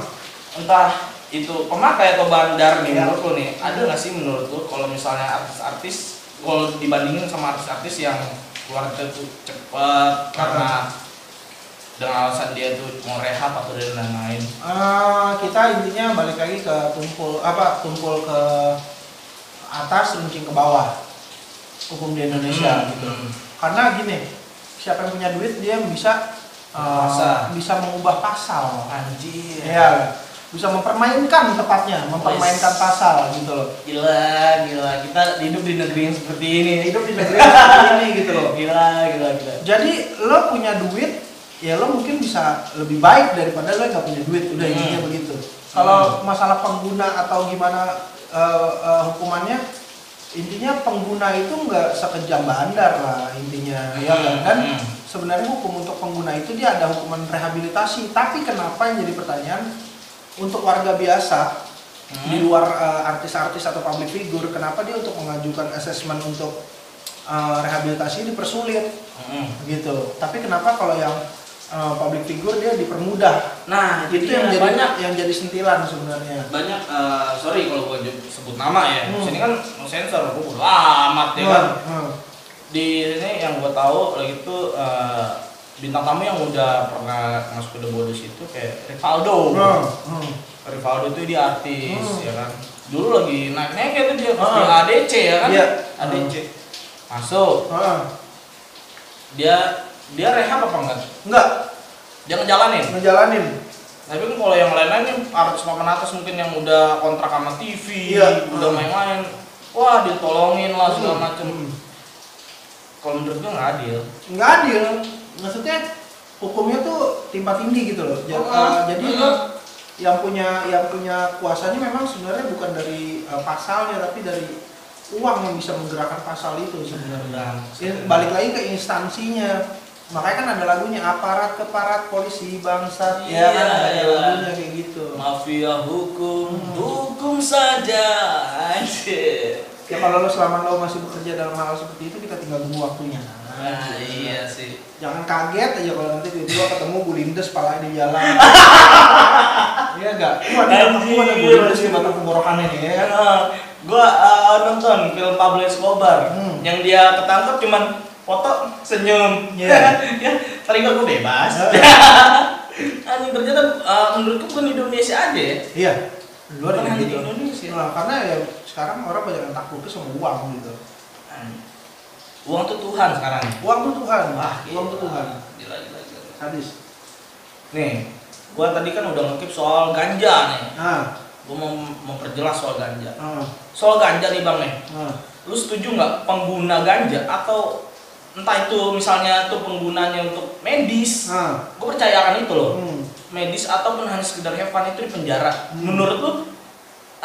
Speaker 1: entah itu pemakai atau bandar nih,
Speaker 2: Iya.
Speaker 1: menurut lo nih, ada nggak sih menurut lo kalau misalnya artis-artis, kalau dibandingin sama artis-artis yang keluar itu cepat karena dengan alasan dia tuh mau rehab atau dan lain-lain.
Speaker 2: ah, kita intinya balik lagi ke tumpul apa tumpul ke atas runcing ke bawah hukum di Indonesia gitu.
Speaker 1: Hmm.
Speaker 2: karena gini siapa yang punya duit dia bisa uh,
Speaker 1: Berkuasa.
Speaker 2: bisa mengubah pasal
Speaker 1: Anjir.
Speaker 2: ya bisa mempermainkan tepatnya mempermainkan
Speaker 1: Wes.
Speaker 2: pasal gitu loh
Speaker 1: Gila, gila. Kita hidup di negeri yang seperti ini.
Speaker 2: hidup di negeri seperti ini gitu loh
Speaker 1: Gila, gila, gila.
Speaker 2: jadi lo punya duit ya lo mungkin bisa lebih baik daripada lo nggak punya duit udah
Speaker 1: Hmm.
Speaker 2: intinya begitu kalau masalah pengguna atau gimana uh, uh, hukumannya intinya pengguna itu nggak sekejam bandar lah intinya ya kan? dan
Speaker 1: Hmm.
Speaker 2: sebenarnya hukum untuk pengguna itu dia ada hukuman rehabilitasi tapi kenapa yang jadi pertanyaan untuk warga biasa
Speaker 1: Hmm.
Speaker 2: di luar eh, artis-artis atau public figure kenapa dia untuk mengajukan asesmen untuk eh, rehabilitasi dipersulit
Speaker 1: Hmm.
Speaker 2: gitu tapi kenapa kalau yang eh, public figure dia dipermudah
Speaker 1: Nah,
Speaker 2: itu
Speaker 1: jadi
Speaker 2: yang jadi
Speaker 1: banyak
Speaker 2: yang jadi sentilan sebenarnya
Speaker 1: banyak eh, sorry kalau gua ju- sebut nama ya.
Speaker 2: Hmm.
Speaker 1: Di sini kan no sensor, gua bodo amat ya kan.
Speaker 2: Hmm, hmm.
Speaker 1: Di sini yang gua tahu lagi itu eh, bintang tamu yang udah pernah masuk ke The Bodes itu kayak Rivaldo.
Speaker 2: Hmm, hmm.
Speaker 1: Rivaldo itu dia artis
Speaker 2: Hmm.
Speaker 1: ya kan dulu lagi naik naiknya tuh dia pas
Speaker 2: Ah.
Speaker 1: di ADC ya kan
Speaker 2: Iya.
Speaker 1: ADC masuk
Speaker 2: Hmm.
Speaker 1: dia dia rehab apa enggak
Speaker 2: enggak
Speaker 1: dia ngejalanin
Speaker 2: ngejalanin
Speaker 1: tapi kan kalau yang lain-lain yang artis papan atas mungkin yang udah kontrak sama TV
Speaker 2: Iya.
Speaker 1: udah
Speaker 2: Ah.
Speaker 1: main-main wah ditolongin lah segala
Speaker 2: Hmm,
Speaker 1: macem
Speaker 2: hmm.
Speaker 1: kalau menurut gue nggak adil
Speaker 2: nggak adil maksudnya hukumnya tuh timpa tinggi gitu loh Ja-
Speaker 1: Ah,
Speaker 2: eh, jadi
Speaker 1: ah.
Speaker 2: lo yang punya yang punya kuasanya memang sebenarnya bukan dari eh, pasalnya tapi dari uang yang bisa menggerakkan pasal itu sebenarnya Ya, balik lagi ke instansinya makanya kan ada lagunya aparat keparat polisi bangsat ya
Speaker 1: Iya,
Speaker 2: kan ada
Speaker 1: iya.
Speaker 2: lagunya kayak gitu
Speaker 1: mafia hukum
Speaker 2: Hmm.
Speaker 1: hukum saja anjir
Speaker 2: ya kalau lo selama lo masih bekerja dalam hal seperti itu kita tinggal tunggu waktunya
Speaker 1: nah, iya sih
Speaker 2: jangan kaget aja kalau nanti tiba-tiba ketemu bulindes palanya di jalan iya enggak gua ada
Speaker 1: Anjir.
Speaker 2: gua ada bulindes di batang tenggorokannya nih ya kan
Speaker 1: Karena eh, gua uh, nonton film Pablo Escobar
Speaker 2: Hmm.
Speaker 1: yang dia ketangkep cuman foto senyum
Speaker 2: Iya.
Speaker 1: ya paling gua eh, bebas anjing ternyata uh, menurutku bukan di Indonesia aja ya
Speaker 2: iya lu ada
Speaker 1: Bukan
Speaker 2: yang
Speaker 1: hanya
Speaker 2: gitu
Speaker 1: di Indonesia.
Speaker 2: Nah, karena ya sekarang orang banyak yang takluknya sama uang gitu
Speaker 1: Uang tuh Tuhan sekarang.
Speaker 2: uang tuh Tuhan
Speaker 1: Wah, iya.
Speaker 2: uang tuh
Speaker 1: gila.
Speaker 2: Tuhan
Speaker 1: Gila, gila, gila.
Speaker 2: hadis
Speaker 1: Nih, gua tadi kan udah ngekip soal ganja nih.
Speaker 2: nah
Speaker 1: Gua mau memperjelas soal ganja.
Speaker 2: nah,
Speaker 1: Soal ganja nih bang nih.
Speaker 2: nah.
Speaker 1: Lu setuju nggak pengguna ganja atau entah itu misalnya tuh penggunanya untuk medis?
Speaker 2: nah.
Speaker 1: Gue percaya akan itu loh.
Speaker 2: Hmm.
Speaker 1: Medis ataupun hanya sekedar have fun itu di penjara.
Speaker 2: Hmm.
Speaker 1: Menurut lu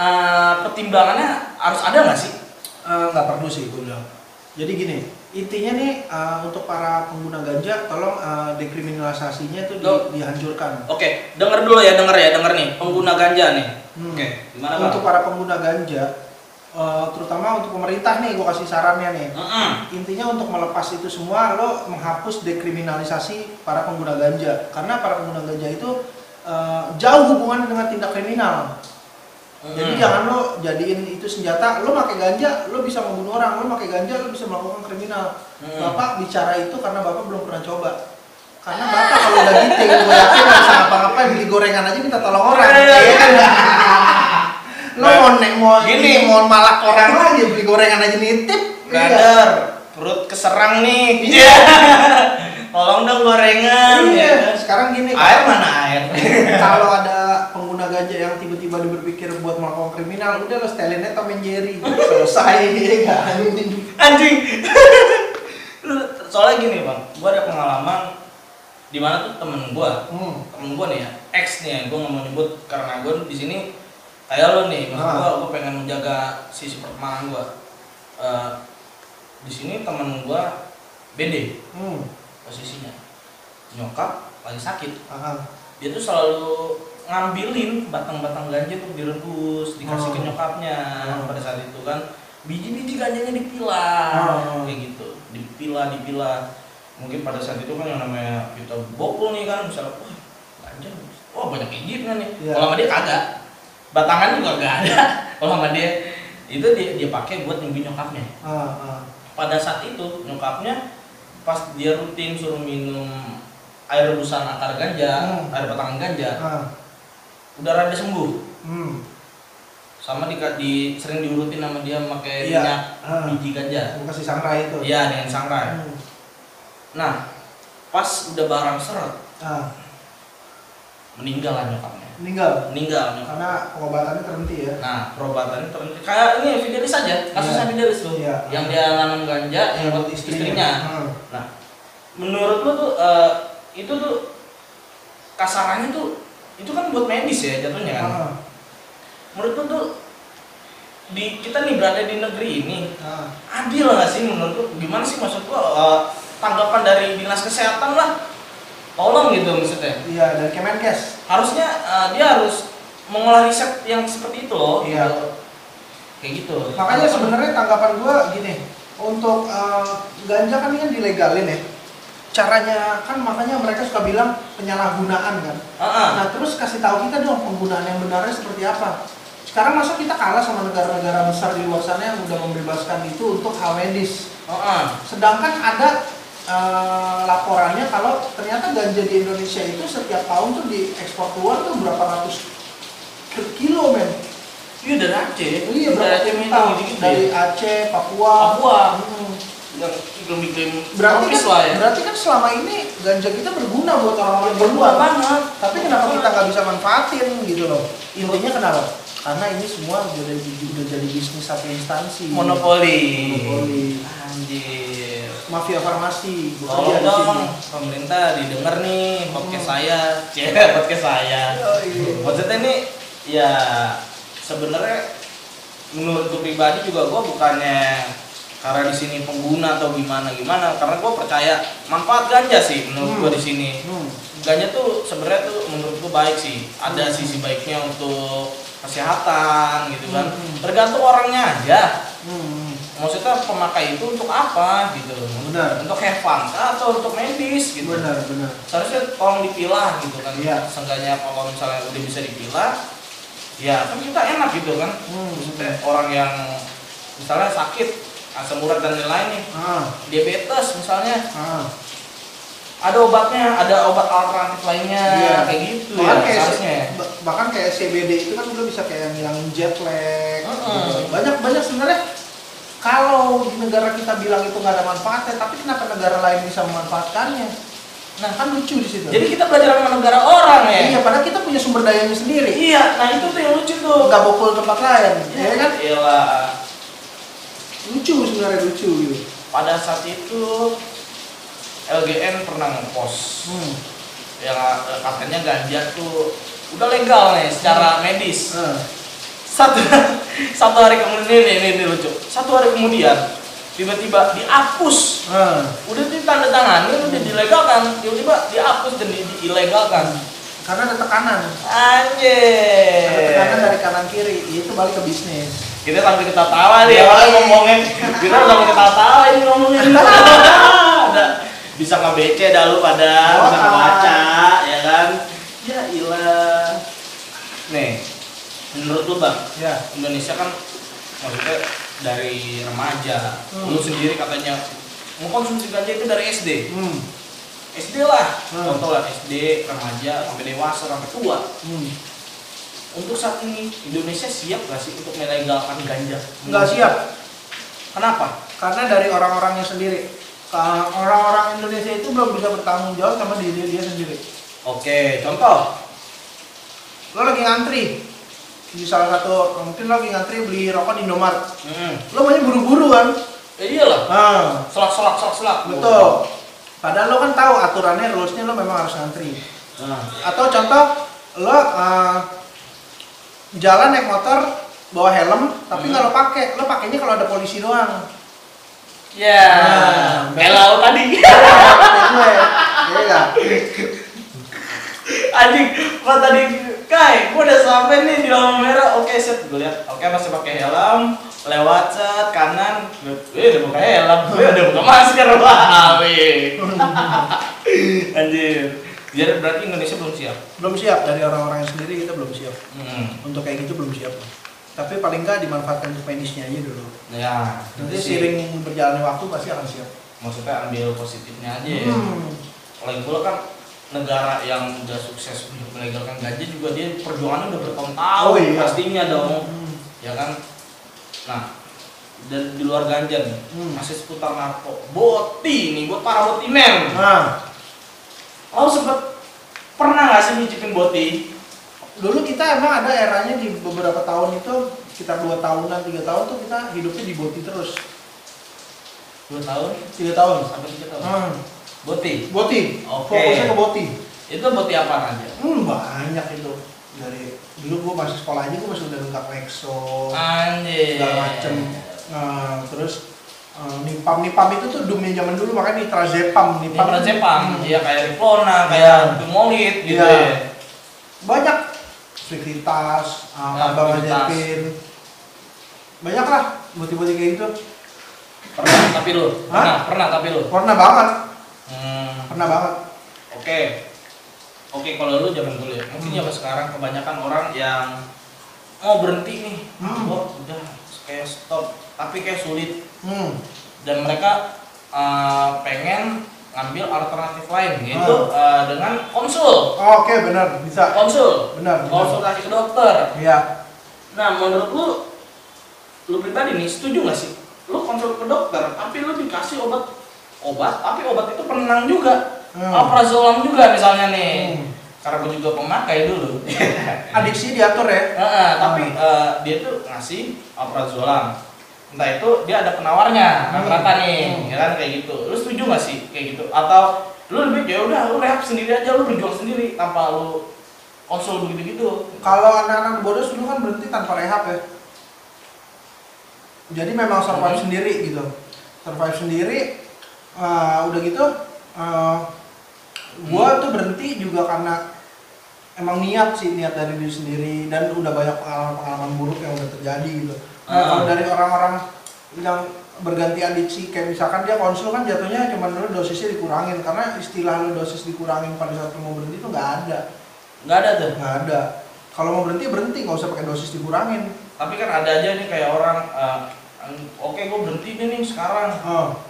Speaker 1: eh, pertimbangannya harus ada nggak sih?
Speaker 2: Eh, nggak perlu sih gue bilang jadi gini intinya nih eh, untuk para pengguna ganja tolong eh, dekriminalisasinya tuh di-
Speaker 1: Lo-
Speaker 2: dihancurkan
Speaker 1: Oke, denger dulu ya, denger ya, denger nih pengguna ganja nih.
Speaker 2: Hmm.
Speaker 1: Oke, gimana bang?
Speaker 2: untuk para pengguna ganja eh, terutama untuk pemerintah nih gue kasih sarannya nih
Speaker 1: Mm-mm.
Speaker 2: intinya untuk melepas itu semua lo menghapus dekriminalisasi para pengguna ganja karena para pengguna ganja itu eh, jauh hubungannya dengan tindak kriminal
Speaker 1: Mm-mm.
Speaker 2: jadi jangan lo jadiin itu senjata lo pakai ganja lo bisa membunuh orang lo pakai ganja lo bisa melakukan kriminal
Speaker 1: Mm.
Speaker 2: bapak bicara itu karena bapak belum pernah coba karena bapak kalau udah giting gue yakin nggak bisa ngapa-ngapain beli gorengan aja minta tolong orang
Speaker 1: Iya, iya,
Speaker 2: kan? lo mau nek mau
Speaker 1: Gini.
Speaker 2: mau malak orang lagi beli gorengan aja nitip
Speaker 1: Brother, perut keserang nih. Iya. Tolong dong
Speaker 2: Iya.
Speaker 1: gorengan.
Speaker 2: Iya.
Speaker 1: ya kan?
Speaker 2: sekarang gini
Speaker 1: Air mana air?
Speaker 2: kalau ada pengguna ganja yang tiba-tiba dia berpikir buat melakukan kriminal udah lo stelinnya Tom and Jerry selesai ya kan?
Speaker 1: Anjing. Lu- Soalnya gini bang, gua ada pengalaman di mana tuh temen gua,
Speaker 2: hmm.
Speaker 1: temen gua nih ya, ex nih ya, gua nggak mau nyebut karena gua di sini kayak lo nih, maksud
Speaker 2: Ah.
Speaker 1: gua, gua pengen menjaga sisi pertemanan gua. Eh, di sini temen gua BD
Speaker 2: Hmm.
Speaker 1: posisinya, nyokap lagi sakit.
Speaker 2: Paham.
Speaker 1: dia tuh selalu ngambilin batang-batang ganja tuh direbus dikasih ke
Speaker 2: Oh.
Speaker 1: nyokapnya
Speaker 2: Oh.
Speaker 1: pada saat itu kan biji-biji ganjanya dipilah
Speaker 2: Oh.
Speaker 1: kayak gitu dipilah dipilah mungkin pada saat itu kan yang namanya kita bokul nih kan misalnya wah ganja wah banyak ijibnya nih
Speaker 2: Iya.
Speaker 1: kalau sama dia kagak batangan juga gak ada kalau sama dia itu dia dia pakai buat nyembuhin nyokapnya
Speaker 2: Ah, ah.
Speaker 1: pada saat itu nyokapnya pas dia rutin suruh minum air rebusan akar ganja,
Speaker 2: Hmm.
Speaker 1: air potongan ganja,
Speaker 2: Ah.
Speaker 1: udah rada sembuh.
Speaker 2: Hmm.
Speaker 1: Sama di, di sering diurutin sama dia pakai
Speaker 2: Iya.
Speaker 1: minyak
Speaker 2: Ah.
Speaker 1: biji ganja.
Speaker 2: Gua kasih sangrai itu.
Speaker 1: Eh, Iya, dengan sangrai.
Speaker 2: Hmm.
Speaker 1: Nah, pas udah barang seret,
Speaker 2: Ah,
Speaker 1: meninggal lah nyokapnya.
Speaker 2: meninggal
Speaker 1: Meninggal nyokapnya.
Speaker 2: karena pengobatannya terhenti ya.
Speaker 1: Nah, perobatannya terhenti. Kayak ini Fidelis saja, kasusnya
Speaker 2: Iya.
Speaker 1: Fidelis tuh.
Speaker 2: Iya.
Speaker 1: Yang dia nanam ganja, yang Iya, buat istrinya.
Speaker 2: Hmm.
Speaker 1: Nah, menurut lu tuh eh, itu tuh kasarannya tuh itu kan buat medis ya jatuhnya kan.
Speaker 2: Ah,
Speaker 1: Menurut lu tuh di kita nih berada di negeri ini
Speaker 2: ah.
Speaker 1: adil nggak sih menurut lu? Gimana sih maksud gua eh, tanggapan dari dinas kesehatan lah? Tolong gitu maksudnya.
Speaker 2: Iya dari Kemenkes.
Speaker 1: Harusnya eh, dia harus mengolah riset yang seperti itu loh.
Speaker 2: Iya.
Speaker 1: gitu. Kayak gitu.
Speaker 2: Makanya sebenarnya tanggapan gua gini, untuk eh, ganja kan ini kan dilegalin ya. Caranya kan makanya mereka suka bilang penyalahgunaan kan.
Speaker 1: Heeh.
Speaker 2: Nah terus kasih tahu kita dong penggunaan yang benarnya seperti apa. Sekarang masa kita kalah sama negara-negara besar di luar sana yang udah membebaskan itu untuk hal medis.
Speaker 1: Heeh.
Speaker 2: Sedangkan ada eh, laporannya kalau ternyata ganja di Indonesia itu setiap tahun tuh diekspor keluar tuh berapa ratus kilo men.
Speaker 1: Iya dari Aceh.
Speaker 2: Iya
Speaker 1: dari
Speaker 2: berapa
Speaker 1: Aceh
Speaker 2: juta
Speaker 1: minta gitu
Speaker 2: dari Aceh, Papua.
Speaker 1: Papua.
Speaker 2: Hmm.
Speaker 1: yang iklim-iklim
Speaker 2: Berarti
Speaker 1: tropis
Speaker 2: kan,
Speaker 1: lah ya.
Speaker 2: berarti kan selama ini ganja kita berguna buat orang-orang di luar.
Speaker 1: banget.
Speaker 2: Tapi kenapa kita nggak bisa manfaatin gitu loh? Intinya kenapa? Karena ini semua udah jadi, udah jadi bisnis satu instansi.
Speaker 1: monopoli?
Speaker 2: Monopoli.
Speaker 1: Anjir.
Speaker 2: Mafia farmasi bekerja
Speaker 1: Tolong
Speaker 2: di
Speaker 1: dong,
Speaker 2: sini.
Speaker 1: pemerintah didengar nih podcast
Speaker 2: Hmm.
Speaker 1: saya. Cie, podcast saya. Maksudnya ini ya sebenarnya menurut gue pribadi juga gue bukannya karena di sini pengguna atau gimana gimana karena gue percaya manfaat ganja sih menurut gue
Speaker 2: Hmm.
Speaker 1: di sini
Speaker 2: Hmm.
Speaker 1: ganja tuh sebenarnya tuh menurut gua baik sih ada
Speaker 2: Hmm.
Speaker 1: sisi baiknya untuk kesehatan gitu kan
Speaker 2: Hmm.
Speaker 1: tergantung orangnya aja
Speaker 2: Hmm.
Speaker 1: maksudnya pemakai itu untuk apa gitu
Speaker 2: Benar.
Speaker 1: untuk have fun kah, atau untuk medis gitu
Speaker 2: Benar, benar.
Speaker 1: seharusnya tolong dipilah gitu kan
Speaker 2: Iya.
Speaker 1: seenggaknya kalau misalnya udah bisa dipilah ya kan kita enak gitu kan
Speaker 2: Hmm.
Speaker 1: maksudnya orang yang misalnya sakit asam urat dan lain-lain nih
Speaker 2: Ah,
Speaker 1: diabetes misalnya
Speaker 2: ah.
Speaker 1: ada obatnya, ada obat alternatif lainnya
Speaker 3: Iya.
Speaker 1: kayak gitu
Speaker 2: Bahkan
Speaker 1: ya
Speaker 2: kayak
Speaker 1: seharusnya. ya.
Speaker 3: Ba- bahkan kayak CBD itu kan juga bisa kayak ngilangin jet lag
Speaker 1: Mm-mm.
Speaker 2: Gitu. banyak banyak sebenarnya kalau di negara kita bilang itu nggak ada manfaatnya tapi kenapa negara lain bisa memanfaatkannya nah kan lucu di situ
Speaker 1: Jadi kita belajar sama negara orang ya.
Speaker 2: iya padahal kita punya sumber dayanya sendiri
Speaker 1: Iya, nah itu tuh yang lucu tuh.
Speaker 2: nggak bokul tempat lain ya kan
Speaker 1: Iya.
Speaker 3: lucu sebenarnya lucu gitu
Speaker 1: Pada saat itu LGN pernah ngepost
Speaker 2: hmm.
Speaker 1: yang eh, katanya ganja tuh udah legal nih secara medis.
Speaker 2: eh,
Speaker 1: Satu satu hari kemudian ini, ini, ini lucu. Satu hari kemudian tiba-tiba dihapus
Speaker 2: eh.
Speaker 1: udah ditanda tangan udah dilegalkan tiba-tiba dihapus dan di- diilegalkan
Speaker 2: karena ada tekanan
Speaker 1: anjir
Speaker 2: ada tekanan dari kanan kiri itu balik ke bisnis
Speaker 1: kita sampai ketawa nih
Speaker 2: Iya.
Speaker 1: orang ngomongin kita sampai ketawa ini ngomongin ada bisa nggak bece dah lu pada bisa
Speaker 2: Wah.
Speaker 1: baca ya kan ya ilah nih menurut lu bang
Speaker 2: ya
Speaker 1: Indonesia kan maksudnya dari remaja
Speaker 2: Hmm.
Speaker 1: lu sendiri katanya mengkonsumsi ganja itu dari SD
Speaker 2: hmm.
Speaker 1: SD lah,
Speaker 2: Hmm.
Speaker 1: contoh lah SD, remaja, sampai dewasa, sampai tua.
Speaker 2: Hmm.
Speaker 1: Untuk saat ini Indonesia siap gak sih untuk melegalkan ganja?
Speaker 2: nggak siap
Speaker 1: Kenapa?
Speaker 2: karena dari orang-orangnya sendiri Ka- orang-orang Indonesia itu belum bisa bertanggung jawab sama diri dia sendiri
Speaker 1: Oke, contoh.
Speaker 2: lo lagi ngantri di salah satu mungkin lo lagi ngantri beli rokok di Indomaret
Speaker 1: Hmm.
Speaker 2: lo maunya buru-buru kan
Speaker 1: Ya iyalah,
Speaker 2: ah
Speaker 1: selak selak selak selak.
Speaker 2: betul padahal lo kan tahu aturannya rulesnya lo memang harus ngantri
Speaker 1: Nah,
Speaker 2: atau contoh lo ah, jalan naik motor bawa helm tapi
Speaker 1: Hmm.
Speaker 2: nggak lo pakai lo pakainya kalau ada polisi doang
Speaker 1: Ya,
Speaker 2: Nah,
Speaker 1: kayak lau tadi.
Speaker 2: Kayak gue iya nggak?
Speaker 1: Anjing, pas tadi Kai, gua udah sampai nih di lampu merah. Oke, set gua lihat. Oke, masih pakai helm, lewat set kanan. Eh, udah buka helm. Eh, udah buka masker. Wah, weh. Anjir. Jadi berarti Indonesia belum siap.
Speaker 2: belum siap dari orang-orang sendiri kita belum siap
Speaker 1: Hmm.
Speaker 2: untuk kayak gitu belum siap tapi paling nggak dimanfaatkan untuk medisnya aja dulu
Speaker 1: Ya,
Speaker 2: nanti
Speaker 1: itu sih.
Speaker 2: seiring berjalannya waktu pasti akan siap
Speaker 1: maksudnya ambil positifnya aja ya.
Speaker 2: hmm.
Speaker 1: Lagi pula kan negara yang udah sukses untuk melegalkan gaji juga dia perjuangannya udah bertahun-tahun
Speaker 2: Oh, iya.
Speaker 1: pastinya dong.
Speaker 2: Hmm.
Speaker 1: ya kan nah dan di luar ganja nih
Speaker 2: Hmm.
Speaker 1: masih seputar narko boti nih buat para boti men
Speaker 2: nah
Speaker 1: lo sempet pernah gak sih nyicipin boti
Speaker 2: dulu kita emang ada eranya di beberapa tahun itu sekitar dua tahunan tiga tahun tuh kita hidupnya di boti terus
Speaker 1: dua tahun
Speaker 2: tiga tahun
Speaker 1: sampai tiga tahun
Speaker 2: hmm.
Speaker 1: boti
Speaker 2: boti
Speaker 1: Oke.
Speaker 2: fokusnya ke boti
Speaker 1: itu boti apa aja
Speaker 2: hmm, banyak itu dari dulu gua masih sekolah aja gua masih udah lengkap nexo
Speaker 1: Ah. anjir
Speaker 2: segala macem Nah, terus eh, nipam nipam itu tuh dumnya zaman dulu makanya nitrazepam
Speaker 1: ini
Speaker 2: nipam
Speaker 1: pada Jepang
Speaker 2: Hmm.
Speaker 1: ya kayak Riflona kayak Dumolit gitu
Speaker 2: Iya.
Speaker 1: ya
Speaker 2: banyak sekuritas
Speaker 1: Ya,
Speaker 2: abang
Speaker 1: Sekuritas.
Speaker 2: ajakin banyak lah buti-buti kayak gitu
Speaker 1: pernah tapi lo pernah
Speaker 2: Hah?
Speaker 1: pernah tapi lo
Speaker 2: pernah banget
Speaker 1: hmm.
Speaker 2: pernah banget
Speaker 1: Oke. Oke, kalau lu zaman dulu ya. Mungkin
Speaker 2: Hmm.
Speaker 1: zaman sekarang kebanyakan orang yang mau berhenti nih.
Speaker 2: Hmm.
Speaker 1: Wah, udah kayak stop, tapi kayak sulit
Speaker 2: hmm.
Speaker 1: dan mereka eh, pengen ngambil alternatif lain yaitu
Speaker 2: Hmm.
Speaker 1: eh, dengan konsul.
Speaker 2: Oh, oke benar bisa
Speaker 1: Konsul.
Speaker 2: benar benar
Speaker 1: Konsultasi ke dokter.
Speaker 2: iya
Speaker 1: Nah, menurut lu lu pribadi nih setuju gak sih? Lu konsul ke dokter, tapi lu dikasih obat obat, tapi obat itu penenang juga.
Speaker 2: Hmm.
Speaker 1: Alprazolam juga misalnya nih
Speaker 2: Hmm.
Speaker 1: karena gue juga pemakai dulu
Speaker 2: adiksi diatur ya
Speaker 1: Heeh, tapi eh, dia tuh ngasih alprazolam entah itu dia ada penawarnya
Speaker 2: Hmm.
Speaker 1: rata nih ya
Speaker 2: Hmm.
Speaker 1: kan kayak gitu lu setuju gak sih kayak gitu atau lu lebih ya udah lu rehab sendiri aja lu berjuang sendiri tanpa lu konsul begitu gitu
Speaker 2: kalau anak-anak bodoh dulu kan berhenti tanpa rehab ya jadi memang survive
Speaker 1: Hmm.
Speaker 2: sendiri gitu survive sendiri eh, udah gitu eh, gua tuh berhenti juga karena emang niat sih niat dari diri sendiri dan udah banyak pengalaman-pengalaman buruk yang udah terjadi gitu nah
Speaker 1: Ah.
Speaker 2: kalau dari orang-orang yang berganti adiksi kayak misalkan dia konsul kan jatuhnya cuman dulu dosisnya dikurangin karena istilah lu dosis dikurangin pada saat lu mau berhenti itu nggak ada
Speaker 1: nggak ada tuh
Speaker 2: nggak ada kalau mau berhenti berhenti nggak usah pakai dosis dikurangin
Speaker 1: tapi kan ada aja nih kayak orang eh, oke gue berhenti nih, nih sekarang
Speaker 2: oh.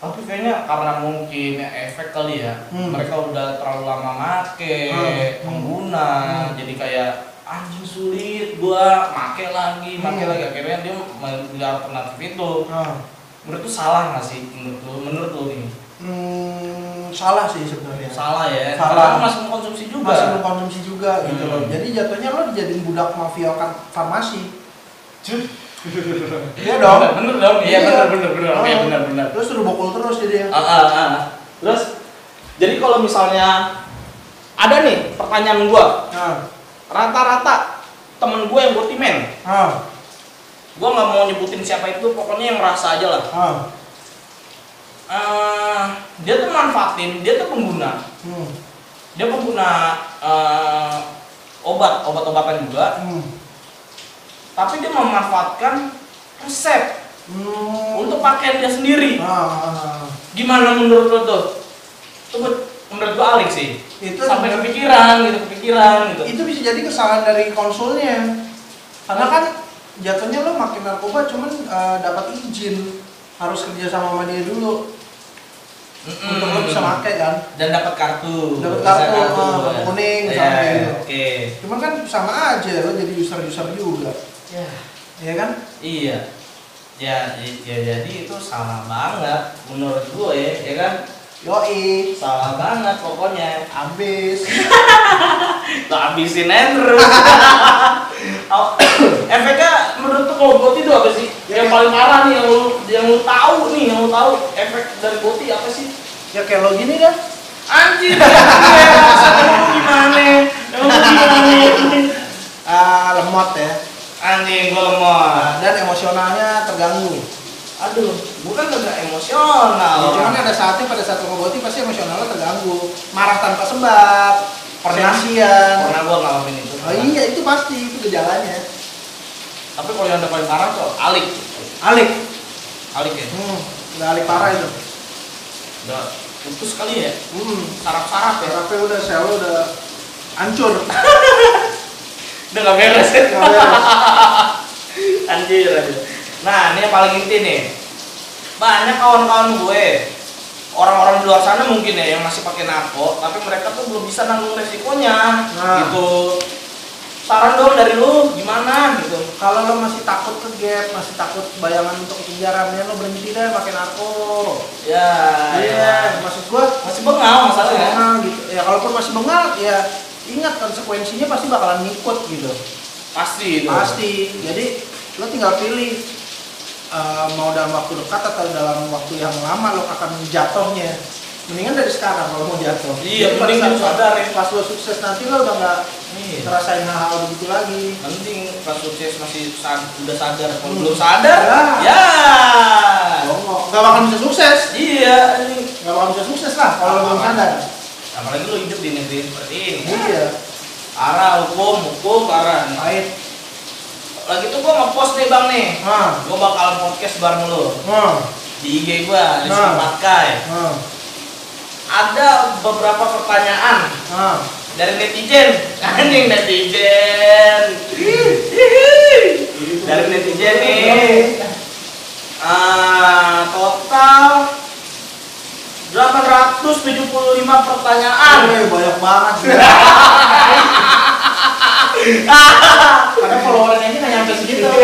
Speaker 1: tapi kayaknya karena mungkin efek kali ya
Speaker 2: Hmm.
Speaker 1: mereka udah terlalu lama make
Speaker 2: Hmm.
Speaker 1: pengguna
Speaker 2: Hmm.
Speaker 1: jadi kayak anjing sulit gua make lagi make
Speaker 2: Hmm.
Speaker 1: lagi akhirnya dia memilih alternatif itu
Speaker 2: Ah.
Speaker 1: menurut tuh salah nggak sih menurut lu menurut lu nih
Speaker 2: Hmm, salah sih sebenarnya.
Speaker 1: salah ya
Speaker 2: Salah.
Speaker 1: karena masih mengkonsumsi juga
Speaker 2: Masih mengkonsumsi juga gitu
Speaker 1: Hmm.
Speaker 2: loh. Jadi jatuhnya lo dijadiin budak mafia kan farmasi. Cuy. Iya dong.
Speaker 1: bener, bener dong iya bener
Speaker 2: Iya.
Speaker 1: bener bener oke
Speaker 2: Ah.
Speaker 1: bener bener
Speaker 2: Terus suruh bokul terus jadi
Speaker 1: Ah, ah, ah. terus jadi kalau misalnya ada nih pertanyaan gua
Speaker 2: Nah,
Speaker 1: rata-rata temen gue yang botimen
Speaker 2: ah,
Speaker 1: gue nggak mau nyebutin siapa itu pokoknya yang rasa aja lah
Speaker 2: ah.
Speaker 1: Eh, dia tuh manfaatin dia tuh pengguna
Speaker 2: Hmm,
Speaker 1: dia pengguna eh, obat obat-obatan juga
Speaker 2: hmm.
Speaker 1: tapi dia memanfaatkan resep
Speaker 2: Hmm.
Speaker 1: untuk pakaian dia sendiri
Speaker 2: Ah, ah, ah.
Speaker 1: gimana menurut lo tuh itu men- menurut gue alik sih
Speaker 2: Itu
Speaker 1: sampai kepikiran gitu kepikiran gitu
Speaker 2: itu bisa jadi kesalahan dari konsulnya karena kan jatuhnya lo makin narkoba cuman eh, dapat izin harus kerja sama sama dia dulu
Speaker 1: Mm-mm.
Speaker 2: untuk lo bisa pakai kan
Speaker 1: dan dapat kartu
Speaker 2: Dapat
Speaker 1: Bisa
Speaker 2: kartu, ah,
Speaker 1: ya.
Speaker 2: kuning,
Speaker 1: Iya,
Speaker 2: misalnya gitu.
Speaker 1: oke
Speaker 2: cuman kan sama aja lo jadi user user juga
Speaker 1: Ya.
Speaker 2: ya kan
Speaker 1: Iya. Ya, i- ya jadi itu salah banget menurut gue ya kan
Speaker 2: yoi
Speaker 1: salah banget pokoknya
Speaker 2: habis
Speaker 1: lo habisin aja terus Au- efeknya menurut tuh kalau goti itu apa sih
Speaker 2: Ya,
Speaker 1: yang paling parah nih yang lu yang lu tahu nih yang lu tahu efek dari goti apa sih
Speaker 2: ya kayak lo gini dah
Speaker 1: anjir ya, emang lu gimana emang lu gimana
Speaker 2: ah, lemot ya
Speaker 1: anjing gue lemot
Speaker 2: Ah, dan emosionalnya terganggu
Speaker 1: aduh gue kan gak emosional
Speaker 2: Ya, cuman ada saatnya pada saat lo ngeboti pasti emosionalnya terganggu marah tanpa sebab pernasia
Speaker 1: pernah gue ngalamin itu
Speaker 2: oh iya itu pasti itu gejalanya
Speaker 1: tapi kalau yang udah paling parah tuh alik
Speaker 2: Alik.
Speaker 1: alik ya
Speaker 2: Hmm, udah alik parah itu.
Speaker 1: udah putus kali ya
Speaker 2: Hmm.
Speaker 1: sarap-sarap ya
Speaker 2: Terapi udah sel lu udah hancur.
Speaker 1: udah gak beres ya
Speaker 2: Nggak beres.
Speaker 1: anjir anjir nah ini yang paling inti nih banyak kawan-kawan gue orang-orang di luar sana mungkin ya yang masih pakai narko tapi mereka tuh belum bisa nanggung resikonya
Speaker 2: Nah.
Speaker 1: gitu saran dong dari lu gimana gitu
Speaker 2: Kalau lo masih takut ke gap, masih takut bayangan untuk penjara, mendingan lo berhenti deh pakai narko.
Speaker 1: ya
Speaker 2: Iya, maksud gua
Speaker 1: masih bengal masalahnya
Speaker 2: bengal gitu. Ya kalaupun masih bengal ya ingat konsekuensinya pasti bakalan ngikut gitu.
Speaker 1: pasti itu
Speaker 2: Pasti. Jadi lo tinggal pilih eh, mau dalam waktu dekat atau dalam waktu yang lama lo akan jatuhnya. Mendingan dari sekarang kalau mau jatuh.
Speaker 1: Iya,
Speaker 2: Jadi pada
Speaker 1: mending lu
Speaker 2: saat-
Speaker 1: sadar ya.
Speaker 2: Pas lo sukses nanti lo udah nggak
Speaker 1: Iya.
Speaker 2: ngerasain hal-hal begitu lagi.
Speaker 1: penting pas sukses masih sa- udah sadar kalau
Speaker 2: Hmm.
Speaker 1: belum sadar
Speaker 2: Ya.
Speaker 1: ya
Speaker 2: Bongok. Gak bakal bisa sukses.
Speaker 1: iya anjing.
Speaker 2: Gak bakal bisa sukses lah kalau lo belum sadar.
Speaker 1: apalagi lu hidup di negeri seperti ini
Speaker 2: Iya.
Speaker 1: arah hukum hukum arah nih.
Speaker 2: Pahit.
Speaker 1: lagi tuh gua ngepost nih bang nih
Speaker 2: Nah.
Speaker 1: gua bakal podcast bareng lu
Speaker 2: Nah.
Speaker 1: di IG gua di
Speaker 2: Nah.
Speaker 1: Pakai
Speaker 2: Nah.
Speaker 1: ada beberapa pertanyaan
Speaker 2: Nah.
Speaker 1: dari netizen anjing netizen dari netizen nih Ah, total 875 pertanyaan.
Speaker 2: Aduh, banyak banget sih. Karena followernya aja nggak nyampe segitu.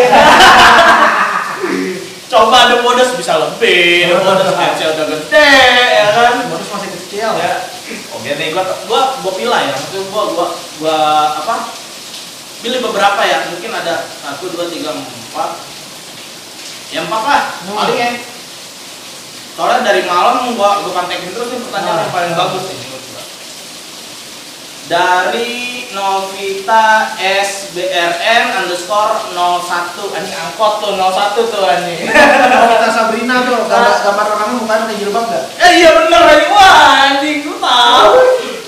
Speaker 1: Iya. Coba ada modus bisa lebih, ada modus MC udah gede, ya kan?
Speaker 2: Bonus masih kecil.
Speaker 1: Ya. Oke nih, gua gua gua pilih ya. Maksudnya gua gua gua apa? Pilih beberapa ya. Mungkin ada satu, dua, tiga, empat. Yang empat lah,
Speaker 2: Hmm.
Speaker 1: paling ya. Soalnya dari malam gua gua pantekin terus nih pertanyaan
Speaker 2: Ah.
Speaker 1: yang paling bagus nih. menurut gua. Dari Novita SBRN underscore 01 Ini angkot tuh 01 tuh anjing
Speaker 2: Kalau kita Sabrina tuh, gambar,
Speaker 1: Ah.
Speaker 2: gambar orangnya mukanya pakai jilbab nggak?
Speaker 1: Eh iya bener anjing Wah anjing lu tau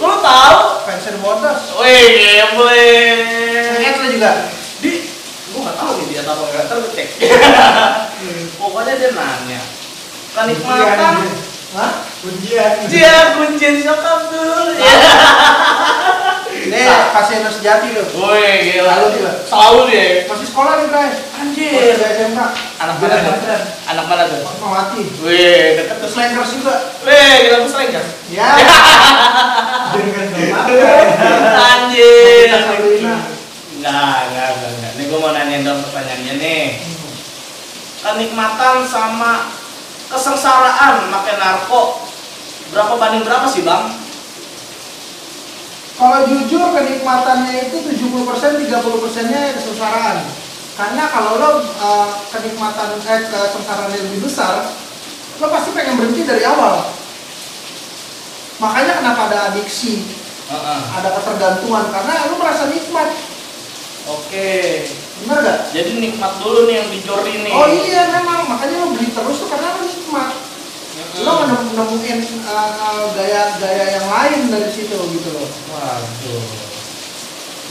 Speaker 1: Lu tau
Speaker 2: Fansnya bodas.
Speaker 1: Wih, boleh.
Speaker 2: Ingat lo juga.
Speaker 1: Nah, Di, gua nggak tahu nih dia apa nggak ntar gua cek. Pokoknya dia nanya. Kenikmatan.
Speaker 2: ya, Hah? ya.
Speaker 3: Ujian.
Speaker 1: ya, Dia kuncian nyokap dulu. Ya.
Speaker 2: Ini pasien sejati loh.
Speaker 1: Woi, gila.
Speaker 2: Selalu dia.
Speaker 1: Selalu dia.
Speaker 2: Eh, Masih sekolah nih, Bray. Iya,
Speaker 4: Anjir.
Speaker 2: Masih SMK.
Speaker 1: Anak mana tuh?
Speaker 4: Bener.
Speaker 1: Anak mana tuh?
Speaker 2: Pas mau mati. Iya, kan,
Speaker 1: Wih, deket tuh.
Speaker 2: Terus Lakers juga.
Speaker 1: Wih, gila tuh sering kan?
Speaker 2: Ya. Dengan sama.
Speaker 1: Iya, Anjir.
Speaker 2: Kita Sabrina.
Speaker 1: Enggak, enggak, enggak, enggak. Ini gue mau nanyain dong pertanyaannya nih. Kenikmatan sama kesengsaraan pakai narko berapa banding berapa sih bang?
Speaker 2: Kalau jujur kenikmatannya itu 70% 30%-nya ya kesengsaraan. Karena kalau lo eh, kenikmatan eh kesengsaraan yang lebih besar, lo pasti pengen berhenti dari awal. Makanya kenapa ada adiksi,
Speaker 1: Heeh.
Speaker 2: ada ketergantungan karena lo merasa nikmat.
Speaker 1: Oke.
Speaker 2: Bener gak?
Speaker 1: Jadi nikmat dulu nih yang dijori nih.
Speaker 2: Oh iya memang, makanya lo beli terus tuh karena lo nikmat.
Speaker 1: Heeh.
Speaker 2: Lo menem- nemuin eh, eh, gaya-gaya yang lain dari situ gitu loh.
Speaker 1: Waduh.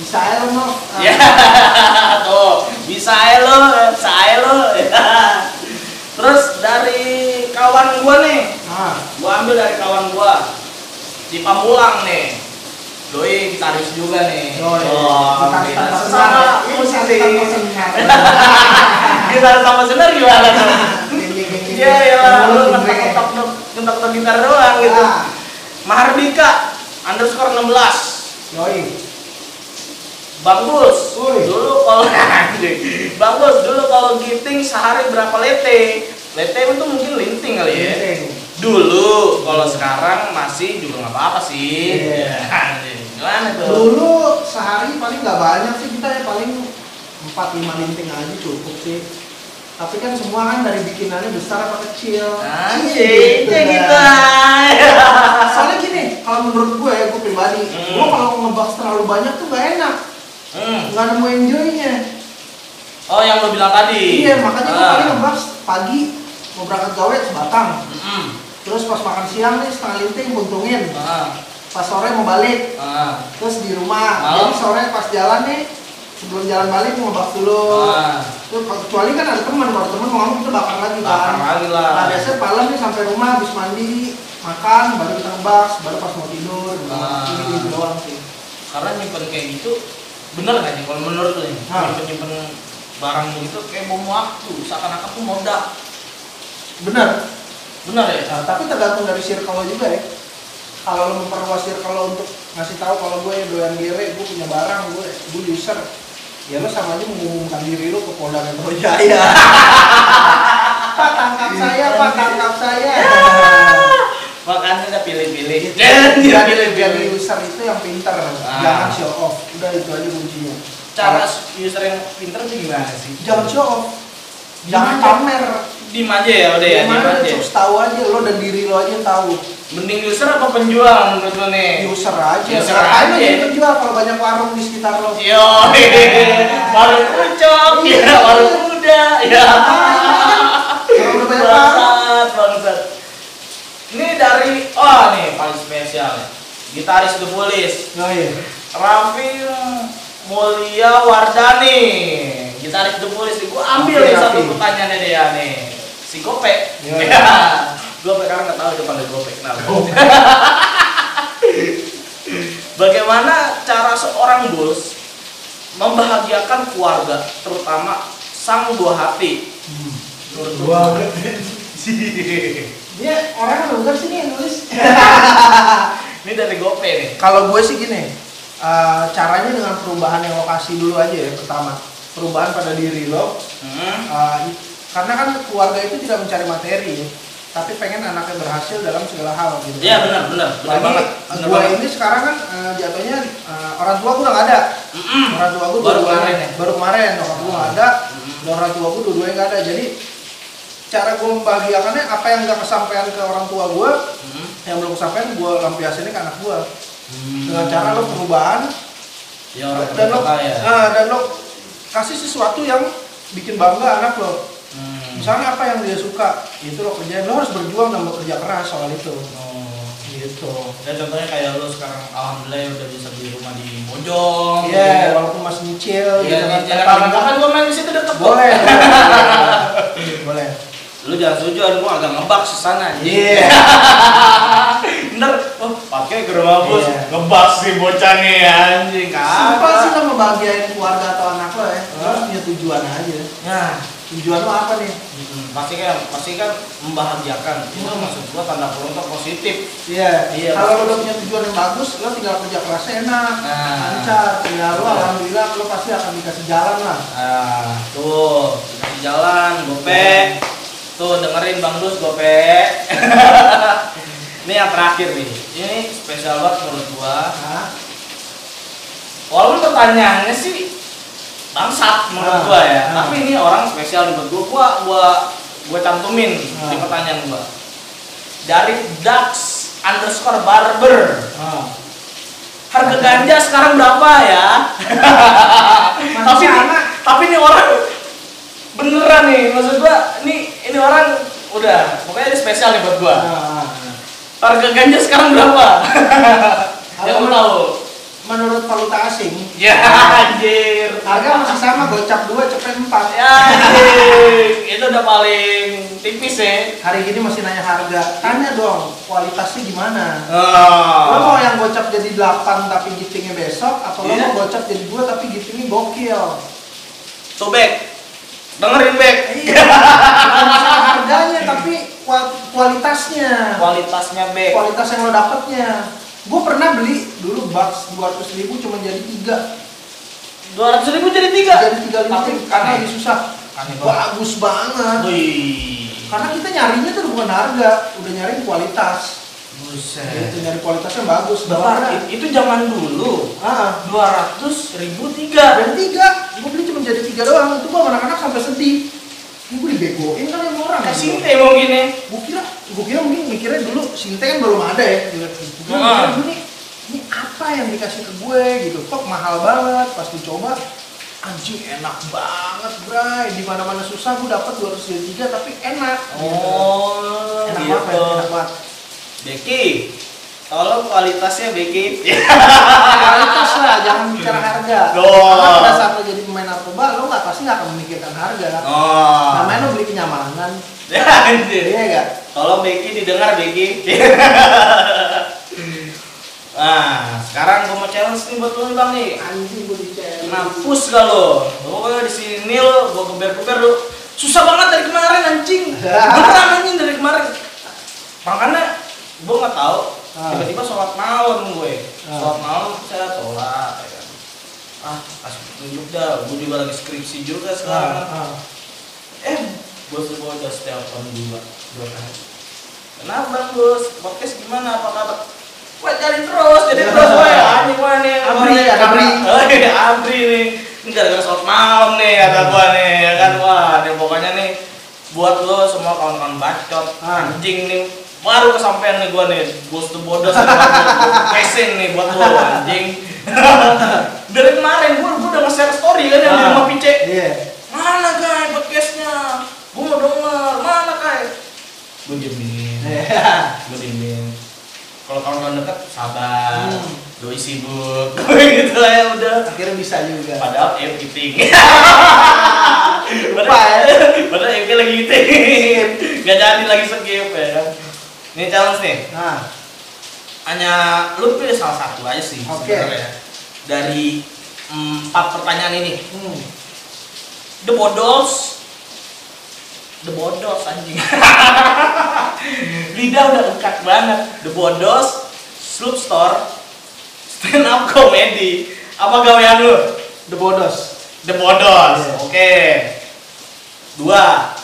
Speaker 2: Bisa aja lo Nov. Eh,
Speaker 1: Ya, tuh bisa aja lo, bisa aja lo. Terus dari kawan gua nih,
Speaker 2: Nah,
Speaker 1: gua ambil dari kawan gua di Pamulang nih doi gitaris juga nih
Speaker 2: Doi. Gitaris tanpa
Speaker 1: sama Iya,
Speaker 2: senar. Ini gitaris tanpa senar.
Speaker 1: gitaris tanpa senar gimana tuh iya
Speaker 2: Iya
Speaker 1: ya lu ngetok ngetok ngetok ngetok gitar doang gitu
Speaker 2: Ah.
Speaker 1: Mahardika underscore 16
Speaker 2: Yoi.
Speaker 1: Bang Bus,
Speaker 2: Woi.
Speaker 1: dulu kalau Anjing. Bang Bus dulu kalau giting sehari berapa lete? Lete itu mungkin linting kali ya. Dulu, kalau sekarang masih juga nggak apa-apa sih.
Speaker 2: Iya.
Speaker 1: Anjing, Gimana tuh?
Speaker 2: Dulu sehari paling nggak banyak sih kita ya paling 4-5 linting aja cukup sih. Tapi kan semua kan dari bikinannya besar apa kecil.
Speaker 1: Anjing,
Speaker 2: Gitu
Speaker 1: ya gitu.
Speaker 2: dah.
Speaker 1: aja.
Speaker 2: Ah, Soalnya gini, kalau menurut gue ya gue pribadi,
Speaker 1: Hmm.
Speaker 2: gue kalau ngebak terlalu banyak tuh gak enak,
Speaker 1: Hmm.
Speaker 2: nggak nemu enjoynya.
Speaker 1: Oh, yang lo bilang tadi.
Speaker 2: Iya, makanya gue
Speaker 1: Ah.
Speaker 2: paling ngebak pagi mau berangkat gawe sebatang,
Speaker 1: Mm-mm.
Speaker 2: terus pas makan siang nih setengah linting buntungin,
Speaker 1: Ah,
Speaker 2: pas sore mau balik
Speaker 1: ah,
Speaker 2: terus di rumah
Speaker 1: Malam?
Speaker 2: jadi sore pas jalan nih sebelum jalan balik mau ngebak dulu
Speaker 1: ah.
Speaker 2: Terus kecuali kan ada teman baru teman mau ngomong kita bakar lagi
Speaker 1: Bakar
Speaker 2: kan
Speaker 1: lagi
Speaker 2: nah
Speaker 1: lah.
Speaker 2: biasanya malam nih sampai rumah habis mandi makan baru kita ngebak baru pas mau tidur
Speaker 1: Ah.
Speaker 2: gitu gitu doang sih
Speaker 1: karena nyimpen kayak gitu bener nggak sih kalau menurut lo nih
Speaker 2: Hah.
Speaker 1: nyimpen nyimpen barang gitu kayak bom waktu seakan-akan tuh moda
Speaker 2: bener
Speaker 1: bener ya
Speaker 2: Nah, tapi tergantung dari circle lo juga ya kalau lo memperluas circle lo untuk ngasih tahu kalau gue ya doyan gere gue punya barang gue gue user ya lo sama aja mengumumkan diri lo ke Polda Metro Jaya pak tangkap saya pak tangkap saya
Speaker 1: Ya. makanya udah pilih-pilih
Speaker 2: jadi jadi user itu yang pintar
Speaker 1: Ah.
Speaker 2: jangan show off udah itu aja kuncinya
Speaker 1: cara user yang pinter tuh gimana sih
Speaker 2: jangan show off jangan
Speaker 1: Gimana?
Speaker 2: pamer
Speaker 1: diem aja ya udah ya diem
Speaker 2: gimana
Speaker 1: aja
Speaker 2: cukup tahu aja lo dan diri lo aja yang tahu
Speaker 1: mending user apa penjual menurut lo nih
Speaker 2: user aja Iya.
Speaker 1: User
Speaker 2: Ngapain lo
Speaker 1: aja.
Speaker 2: jadi penjual kalau banyak warung di sekitar lo
Speaker 1: yo baru kucok
Speaker 2: Iya.
Speaker 1: ya baru muda ya
Speaker 2: Nah, kan? Kalau udah banyak warung
Speaker 1: bangsat bangsat ini dari oh nih paling spesial ya. gitaris The Police
Speaker 2: Oh iya.
Speaker 1: Raffi Mulia Wardani gitaris The Police nih. gua ambil
Speaker 2: Oke,
Speaker 1: nih satu
Speaker 2: Raffi.
Speaker 1: pertanyaannya dia nih si Gopek
Speaker 2: Iya.
Speaker 1: ya Gopek karena nggak tahu depan Gopek kenapa bagaimana cara seorang bos membahagiakan keluarga terutama sang buah hati menurut lu?
Speaker 2: Dia orang udah bener sih nih yang nulis.
Speaker 1: ini dari Gopek nih
Speaker 2: Kalau gue sih gini, eh, caranya dengan perubahan yang lokasi dulu aja ya pertama. Perubahan pada diri lo,
Speaker 1: hmm.
Speaker 2: eh, i- karena kan keluarga itu tidak mencari materi, ya, tapi pengen anaknya berhasil dalam segala hal gitu.
Speaker 1: Iya benar benar benar
Speaker 2: Lagi
Speaker 1: banget. Benar
Speaker 2: gue
Speaker 1: banget.
Speaker 2: ini sekarang kan eh, jatuhnya eh, orang tua gue udah nggak ada.
Speaker 1: Mm-mm.
Speaker 2: orang tua gue
Speaker 1: Baru kemarin ya? Hmm.
Speaker 2: baru kemarin nyokap gue nggak ada dan orang tua gue dua-duanya nggak ada jadi cara gue membahagiakannya apa yang nggak kesampaian ke orang tua gue
Speaker 1: Mm-mm.
Speaker 2: yang belum kesampaian gue lampiasinnya ke anak gue Hmm. dengan cara lo perubahan
Speaker 1: ya orang
Speaker 2: dan lo
Speaker 1: kaya.
Speaker 2: nah, dan lo kasih sesuatu yang bikin bangga anak lo
Speaker 1: Hmm.
Speaker 2: misalnya apa yang dia suka itu lo kerjain lo harus berjuang dan bekerja keras soal itu
Speaker 1: Oh.
Speaker 2: gitu
Speaker 1: Dan contohnya kayak lo sekarang alhamdulillah ya udah bisa beli rumah di Mojong. gitu.
Speaker 2: Iya, gitu walaupun masih nyicil,
Speaker 1: Iya,
Speaker 2: jangan
Speaker 1: di Jakarta. Kan gua main di situ deket kok.
Speaker 2: boleh, boleh, boleh.
Speaker 1: Iya. Lu jangan setuju, gua agak ngebak sesana.
Speaker 2: Iya.
Speaker 1: Enggak Tinder, oh pakai ke rumah bos,
Speaker 2: Iya.
Speaker 1: ngebas si bocah nih anjing
Speaker 2: Sumpah sih
Speaker 1: kagak.
Speaker 2: lo ngebahagiain keluarga atau anak lo ya. Lo
Speaker 1: Hah?
Speaker 2: harus punya tujuan aja.
Speaker 5: Nah,
Speaker 2: Tujuan lo apa nih?
Speaker 1: Hmm, pasti kan, pasti kan membahagiakan. Itu maksud gua tanda kurung tuh positif.
Speaker 2: Iya.
Speaker 1: Iya,
Speaker 2: Kalau lo
Speaker 1: pasti.
Speaker 2: udah punya tujuan yang bagus, lo tinggal kerja kerasnya enak,
Speaker 1: Nah.
Speaker 2: lancar. Ya lo
Speaker 1: Betul.
Speaker 2: alhamdulillah lo pasti akan dikasih jalan lah.
Speaker 1: Ah, tuh, di jalan, gope. Tuh, dengerin Bang Dus, gope. ini yang terakhir nih. Ini spesial banget menurut gua.
Speaker 2: Nah,
Speaker 1: Walaupun pertanyaannya sih bangsat menurut
Speaker 2: Ah,
Speaker 1: gua ya.
Speaker 2: ah.
Speaker 1: Tapi ini orang spesial menurut gua. Gua gua gua cantumin di
Speaker 2: Ah.
Speaker 1: pertanyaan gua. Dari Dax underscore barber.
Speaker 2: ah.
Speaker 1: Harga ganja sekarang berapa ya? tapi
Speaker 2: anak.
Speaker 1: tapi ini orang beneran nih maksud gua ini ini orang udah pokoknya ini spesial nih buat gua.
Speaker 2: Nah,
Speaker 1: Harga ganja sekarang berapa? ya
Speaker 2: Apa?
Speaker 1: gua tahu.
Speaker 2: menurut valuta asing,
Speaker 1: Ya
Speaker 2: Iya.
Speaker 1: anjir.
Speaker 2: harga masih sama gocap dua cepet empat.
Speaker 1: Ya anjing. Itu udah paling tipis ya.
Speaker 2: Hari gini masih nanya harga, tanya dong kualitasnya gimana. Lo mau
Speaker 1: Oh.
Speaker 2: yang gocap jadi 8 tapi giftingnya besok, atau lo
Speaker 1: Iya.
Speaker 2: mau gocap jadi 2 tapi giftingnya gokil?
Speaker 1: Sobek. Dengerin Bek.
Speaker 2: Iya, bukan masalah harganya tapi kual- kualitasnya.
Speaker 1: Kualitasnya Bek.
Speaker 2: Kualitas yang lo dapetnya. Gue pernah beli dulu bucks 200 ribu cuma jadi 3.
Speaker 1: 200 ribu jadi
Speaker 2: Jadi
Speaker 1: 3.
Speaker 2: 3
Speaker 1: Iya. Tapi Iya.
Speaker 2: liter karena
Speaker 1: aneh.
Speaker 2: lebih susah.
Speaker 1: Aneh banget.
Speaker 2: Bagus banget.
Speaker 1: Wih.
Speaker 2: Karena kita nyarinya tuh bukan harga, udah nyariin kualitas.
Speaker 1: Buset.
Speaker 2: Gitu, nyari kualitas yang bagus.
Speaker 1: Bentar,
Speaker 2: Bahkan,
Speaker 1: i- itu zaman dulu.
Speaker 2: ah,
Speaker 1: 200 ribu tiga.
Speaker 2: dan tiga gue beli cuma jadi tiga doang itu gua sama anak-anak sampai sedih ini gue dibegoin kan sama orang
Speaker 1: Kayak sinte mungkin ya.
Speaker 2: gue kira gue kira mungkin mikirnya dulu sinte kan belum ada ya gue mikirnya
Speaker 1: Ah.
Speaker 2: dulu nih ini apa yang dikasih ke gue gitu kok mahal banget pas dicoba anjing enak banget bray di mana mana susah gue dapat 233 tapi enak Gitu.
Speaker 1: Oh,
Speaker 2: enak
Speaker 1: gitu.
Speaker 2: banget enak banget
Speaker 1: Beki, tolong kualitasnya Beki.
Speaker 2: Iya. kualitas lah jangan bicara harga
Speaker 1: Loh.
Speaker 2: karena pada saat lo jadi pemain narkoba lo nggak pasti nggak akan memikirkan harga
Speaker 1: Oh.
Speaker 2: namanya lo beli kenyamanan
Speaker 1: Ya, anjir.
Speaker 2: Iya gak?
Speaker 1: Tolong Beki didengar Beki. nah, sekarang gue mau challenge nih buat lu nih, Bang nih.
Speaker 2: Anjing gue dicek.
Speaker 1: Mampus gak lo? Gue di sini lo, gue keber-keber lo. Susah banget dari kemarin anjing. Beneran anjing dari kemarin. Makanya gue nggak tahu.
Speaker 2: Ah.
Speaker 1: Tiba-tiba sholat malam gue.
Speaker 2: Ah.
Speaker 1: Sholat malam saya sholat. ya kan. Ah, kasih petunjuk dah. Gue juga lagi skripsi juga
Speaker 2: Ah.
Speaker 1: sekarang. Eh, bos gue udah telepon dua dua kali. Kenapa bang bos? Podcast gimana? Apa kabar? Wah jadi terus, jadi terus wah ya anjing wah nih.
Speaker 2: Abri,
Speaker 1: Wah,
Speaker 2: Abri.
Speaker 1: Oh, iya, Abri nih. Ini gara-gara sholat malam nih kata
Speaker 2: Iya.
Speaker 1: gua nih ya kan wah nih pokoknya nih buat lo semua kawan-kawan bacot
Speaker 2: Ah.
Speaker 1: anjing nih baru kesampaian nih gua nih bos tuh bodoh sama gua. Casing nih buat lo anjing dari kemarin gua gua udah nge-share story kan yang di
Speaker 2: Ah.
Speaker 1: rumah pice
Speaker 2: Iya.
Speaker 1: mana guys podcastnya gua mau denger mana guys gua jamin
Speaker 2: Iya.
Speaker 1: gue bimbing kalau kawan-kawan dekat sabar
Speaker 2: Hmm.
Speaker 1: doi sibuk gitu lah ya udah
Speaker 2: Akhirnya bisa juga.
Speaker 1: padahal em eating
Speaker 2: Lupa ya.
Speaker 1: padahal em lagi eating gak jadi lagi skip ya kan ini challenge nih
Speaker 2: Nah,
Speaker 1: hanya lu pilih salah satu aja sih
Speaker 2: Oke.
Speaker 1: sebenarnya dari mm, empat pertanyaan ini
Speaker 2: hmm.
Speaker 1: the bodos the bodos anjing lidah udah lekat banget the bodos sloop store stand up comedy apa gawean lu
Speaker 2: The bodos.
Speaker 1: the bodos
Speaker 2: Iya.
Speaker 1: oke dua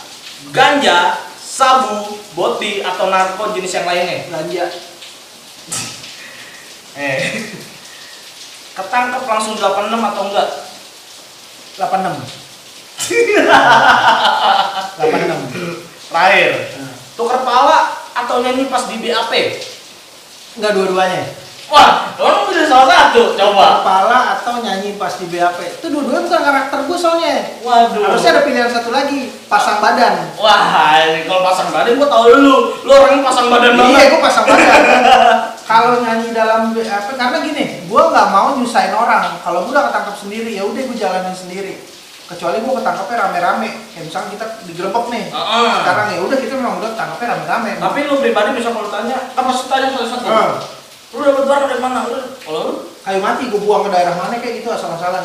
Speaker 1: ganja sabu boti atau narko jenis yang lainnya
Speaker 2: Belanja.
Speaker 1: eh ketangkep langsung 86 atau enggak
Speaker 2: 86. 86.
Speaker 1: terakhir
Speaker 2: Nah.
Speaker 1: tuker pala atau nyanyi pas di BAP
Speaker 2: Enggak dua-duanya.
Speaker 1: Wah, orang bisa salah satu, coba.
Speaker 2: Kepala atau nyanyi pas di BAP. Itu dua-duanya bukan karakter gue soalnya.
Speaker 1: Waduh.
Speaker 2: Harusnya ada pilihan satu lagi, pasang badan.
Speaker 1: Wah, ini kalau pasang badan gua tau lu. Lu orangnya pasang badan
Speaker 2: Iya,
Speaker 1: banget.
Speaker 2: gue pasang badan. Kalau nyanyi dalam BAP karena gini, gue nggak mau nyusahin orang. Kalau gue udah ketangkap sendiri, ya udah gue jalanin sendiri. kecuali gue ketangkapnya rame-rame kayak misalnya kita digerebek nih
Speaker 1: Heeh.
Speaker 2: sekarang ya udah kita memang udah tangkapnya rame-rame
Speaker 1: Tapi lu pribadi bisa kalau tanya, apa sih tanya satu-satu?
Speaker 2: Eh,
Speaker 1: Lu dapat barang dari mana? Lu kalau lu
Speaker 2: kayu mati gue buang ke daerah mana kayak gitu asal-asalan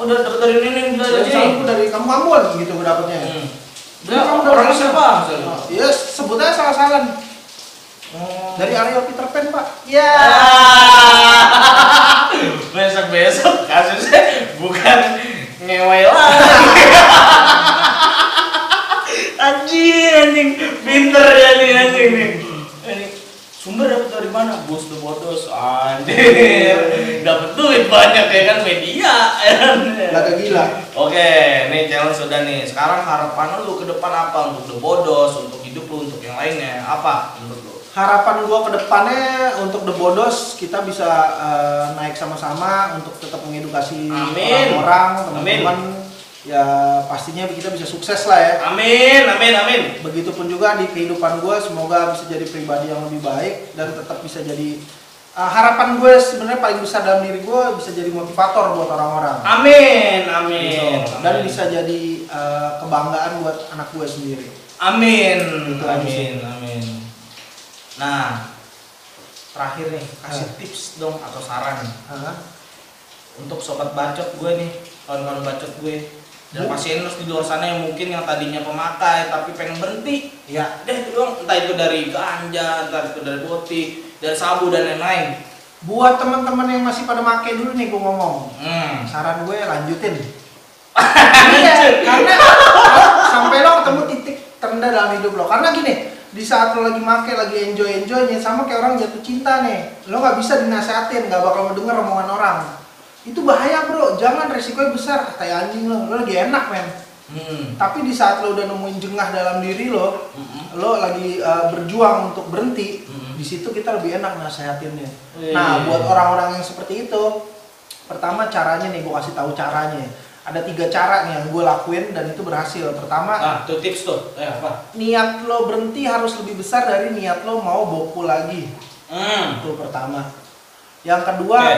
Speaker 1: oh udah dapat dari ini
Speaker 2: ya,
Speaker 1: dari
Speaker 2: misalnya
Speaker 1: sini.
Speaker 2: gue dari kamu kamuan gitu gue dapetnya
Speaker 1: iya. Hmm.
Speaker 2: Dia
Speaker 1: Dia
Speaker 2: kamu dari
Speaker 1: orangnya
Speaker 2: mana?
Speaker 1: siapa? misalnya?
Speaker 2: Oh, ya sebutnya asal-asalan dari area Peter Pan pak ya
Speaker 1: Iya. besok besok kasusnya bukan ngewe lagi anjing anjing pinter ya nih anjing nih Ini sumber dapat dari mana bos the bodos anjir dapat duit banyak ya kan media ya kan?
Speaker 2: agak gila
Speaker 1: Oke, nih challenge sudah nih. Sekarang harapan lu ke depan apa untuk The Bodos, untuk hidup lu, untuk yang lainnya? Apa menurut lu?
Speaker 2: harapan gue ke depannya untuk The Bodos kita bisa eh, naik sama-sama untuk tetap mengedukasi
Speaker 1: Amin.
Speaker 2: orang-orang
Speaker 1: Amin.
Speaker 2: teman-teman ya pastinya kita bisa sukses lah ya
Speaker 1: Amin, amin, amin.
Speaker 2: begitupun juga di kehidupan gue semoga bisa jadi pribadi yang lebih baik dan tetap bisa jadi eh, harapan gue sebenarnya paling besar dalam diri gue bisa jadi motivator buat orang-orang
Speaker 1: Amin, amin.
Speaker 2: dan bisa jadi eh, kebanggaan buat anak gue sendiri
Speaker 1: Amin,
Speaker 2: Itu aja
Speaker 1: amin,
Speaker 2: sih.
Speaker 1: amin. Nah, terakhir nih, kasih
Speaker 2: Hah.
Speaker 1: tips dong atau saran
Speaker 2: Hah?
Speaker 1: untuk sobat bacot gue nih, kawan-kawan bacot gue. Dan
Speaker 2: Bu.
Speaker 1: pasien di luar sana yang mungkin yang tadinya pemakai tapi pengen berhenti,
Speaker 2: ya
Speaker 1: deh itu dong, entah itu dari ganja, entah itu dari boti, dari sabu dan lain-lain.
Speaker 2: buat teman-teman yang masih pada make dulu nih gue ngomong
Speaker 1: Hmm.
Speaker 2: saran gue lanjutin Iya,
Speaker 1: kan?
Speaker 2: karena sampai lo ketemu titik terendah dalam hidup lo karena gini di saat lo lagi make lagi enjoy enjoynya sama kayak orang jatuh cinta nih lo nggak bisa dinasehatin nggak bakal denger omongan orang itu bahaya bro jangan resikonya besar kayak anjing lo lo lagi enak men
Speaker 1: Hmm.
Speaker 2: tapi di saat lo udah nemuin jengah dalam diri lo
Speaker 1: Mm-mm.
Speaker 2: lo lagi uh, berjuang untuk berhenti
Speaker 1: Mm-mm.
Speaker 2: di situ kita lebih enak nasehatinnya
Speaker 1: Mm-hmm. Iya.
Speaker 2: nah buat orang-orang yang seperti itu pertama caranya nih gue kasih tahu caranya ada tiga cara nih yang gue lakuin dan itu berhasil pertama
Speaker 1: Nah, tuh tips tuh. Eh, apa?
Speaker 2: niat lo berhenti harus lebih besar dari niat lo mau boku lagi
Speaker 1: Hmm.
Speaker 2: itu pertama yang kedua
Speaker 1: Oke.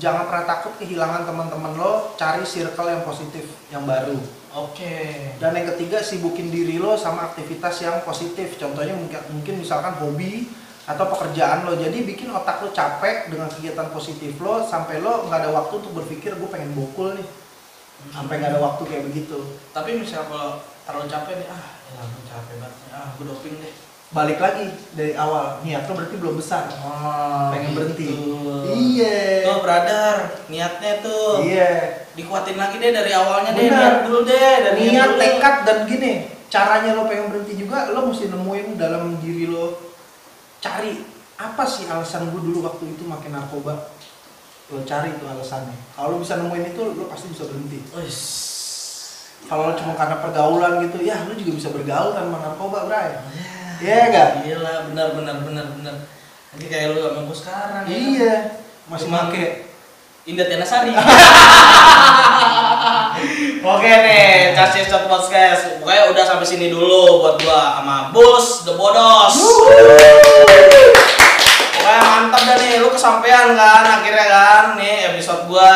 Speaker 2: jangan pernah takut kehilangan teman-teman lo cari circle yang positif yang baru
Speaker 1: Oke.
Speaker 2: dan yang ketiga sibukin diri lo sama aktivitas yang positif. Contohnya mungkin, mungkin misalkan hobi atau pekerjaan lo. Jadi bikin otak lo capek dengan kegiatan positif lo sampai lo nggak ada waktu untuk berpikir gue pengen bokul nih. Sampai nggak ada waktu kayak begitu.
Speaker 1: Tapi misalnya kalau terlalu capek nih, ah, ya ampun capek banget. nih. Ah, gue doping deh.
Speaker 2: Balik lagi dari awal. Niat lo berarti belum besar.
Speaker 1: Oh,
Speaker 2: Pengen berhenti.
Speaker 1: Iya.
Speaker 2: Ah, gitu. Iya.
Speaker 1: Tuh, brother, niatnya tuh
Speaker 2: Iya.
Speaker 1: dikuatin lagi deh dari awalnya deh,
Speaker 2: Benar.
Speaker 1: niat dulu deh,
Speaker 2: Dan
Speaker 1: dari
Speaker 2: niat
Speaker 1: dulu.
Speaker 2: tekad dan gini, caranya lo pengen berhenti juga lo mesti nemuin dalam diri lo cari apa sih alasan gue dulu waktu itu makin narkoba lo cari itu alasannya kalau lo bisa nemuin itu lo pasti bisa berhenti
Speaker 1: Wis.
Speaker 2: kalau lo cuma karena pergaulan gitu ya lo juga bisa bergaul tanpa narkoba bray Iya
Speaker 1: Ya.
Speaker 2: nggak?
Speaker 1: Gila, benar benar benar benar. Nanti kayak lu sama gue sekarang. ya.
Speaker 2: iya masih
Speaker 1: Cuman-
Speaker 2: make
Speaker 1: Indah Tianasari. Oke nih, kasih shot podcast. Pokoknya udah sampai sini dulu buat gua sama Bos The Bodos. Pokoknya mantap dah nih, lu kesampaian kan akhirnya kan nih episode gua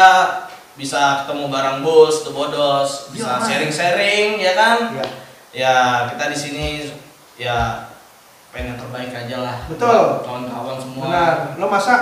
Speaker 1: bisa ketemu bareng Bos The Bodos, bisa
Speaker 2: Iya, Mas.
Speaker 1: sharing-sharing ya kan.
Speaker 2: Iya.
Speaker 1: Ya, kita di sini ya pengen yang terbaik aja lah.
Speaker 2: Betul.
Speaker 1: Kawan-kawan semua.
Speaker 2: benar lo masa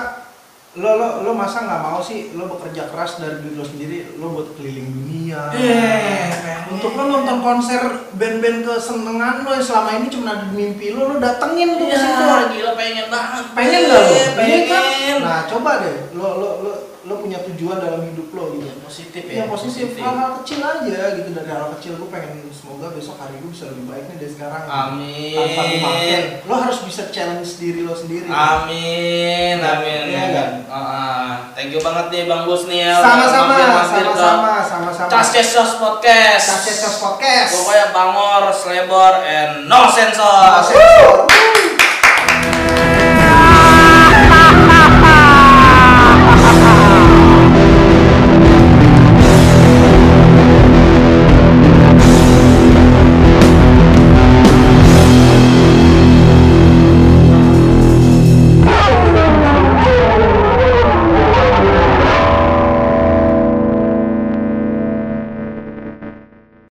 Speaker 2: lo lo lo masa nggak mau sih lo bekerja keras dari diri lo sendiri lo buat keliling dunia
Speaker 1: Eh,
Speaker 2: Untuk lo nonton konser band-band kesenangan lo yang selama ini cuma ada di mimpi lo, lo datengin tuh ke situ.
Speaker 1: Iya, gila pengen banget.
Speaker 2: Pengen gak lo?
Speaker 1: Iya, Pengen.
Speaker 2: Iya kan? Nah coba deh, lo lo lo lo punya tujuan dalam hidup lo gitu.
Speaker 1: Yang positif ya.
Speaker 2: Ya positif, hal-hal kecil aja gitu dari hal kecil gue pengen semoga besok hari gue bisa lebih baik nih dari sekarang.
Speaker 1: Amin.
Speaker 2: Tanpa gue makin, lo harus bisa challenge diri lo sendiri.
Speaker 1: Amin, amin.
Speaker 2: Iya kan?
Speaker 1: Ah, ah. thank you banget nih Bang Gus nih ya.
Speaker 2: Sama-sama,
Speaker 1: Udah mampir-mampir ke
Speaker 2: sama-sama, sama-sama.
Speaker 1: Caskesos Podcast.
Speaker 2: Caskesos Podcast.
Speaker 1: Pokoknya Bangor, Selebor, and No Sensor.
Speaker 2: Kasih.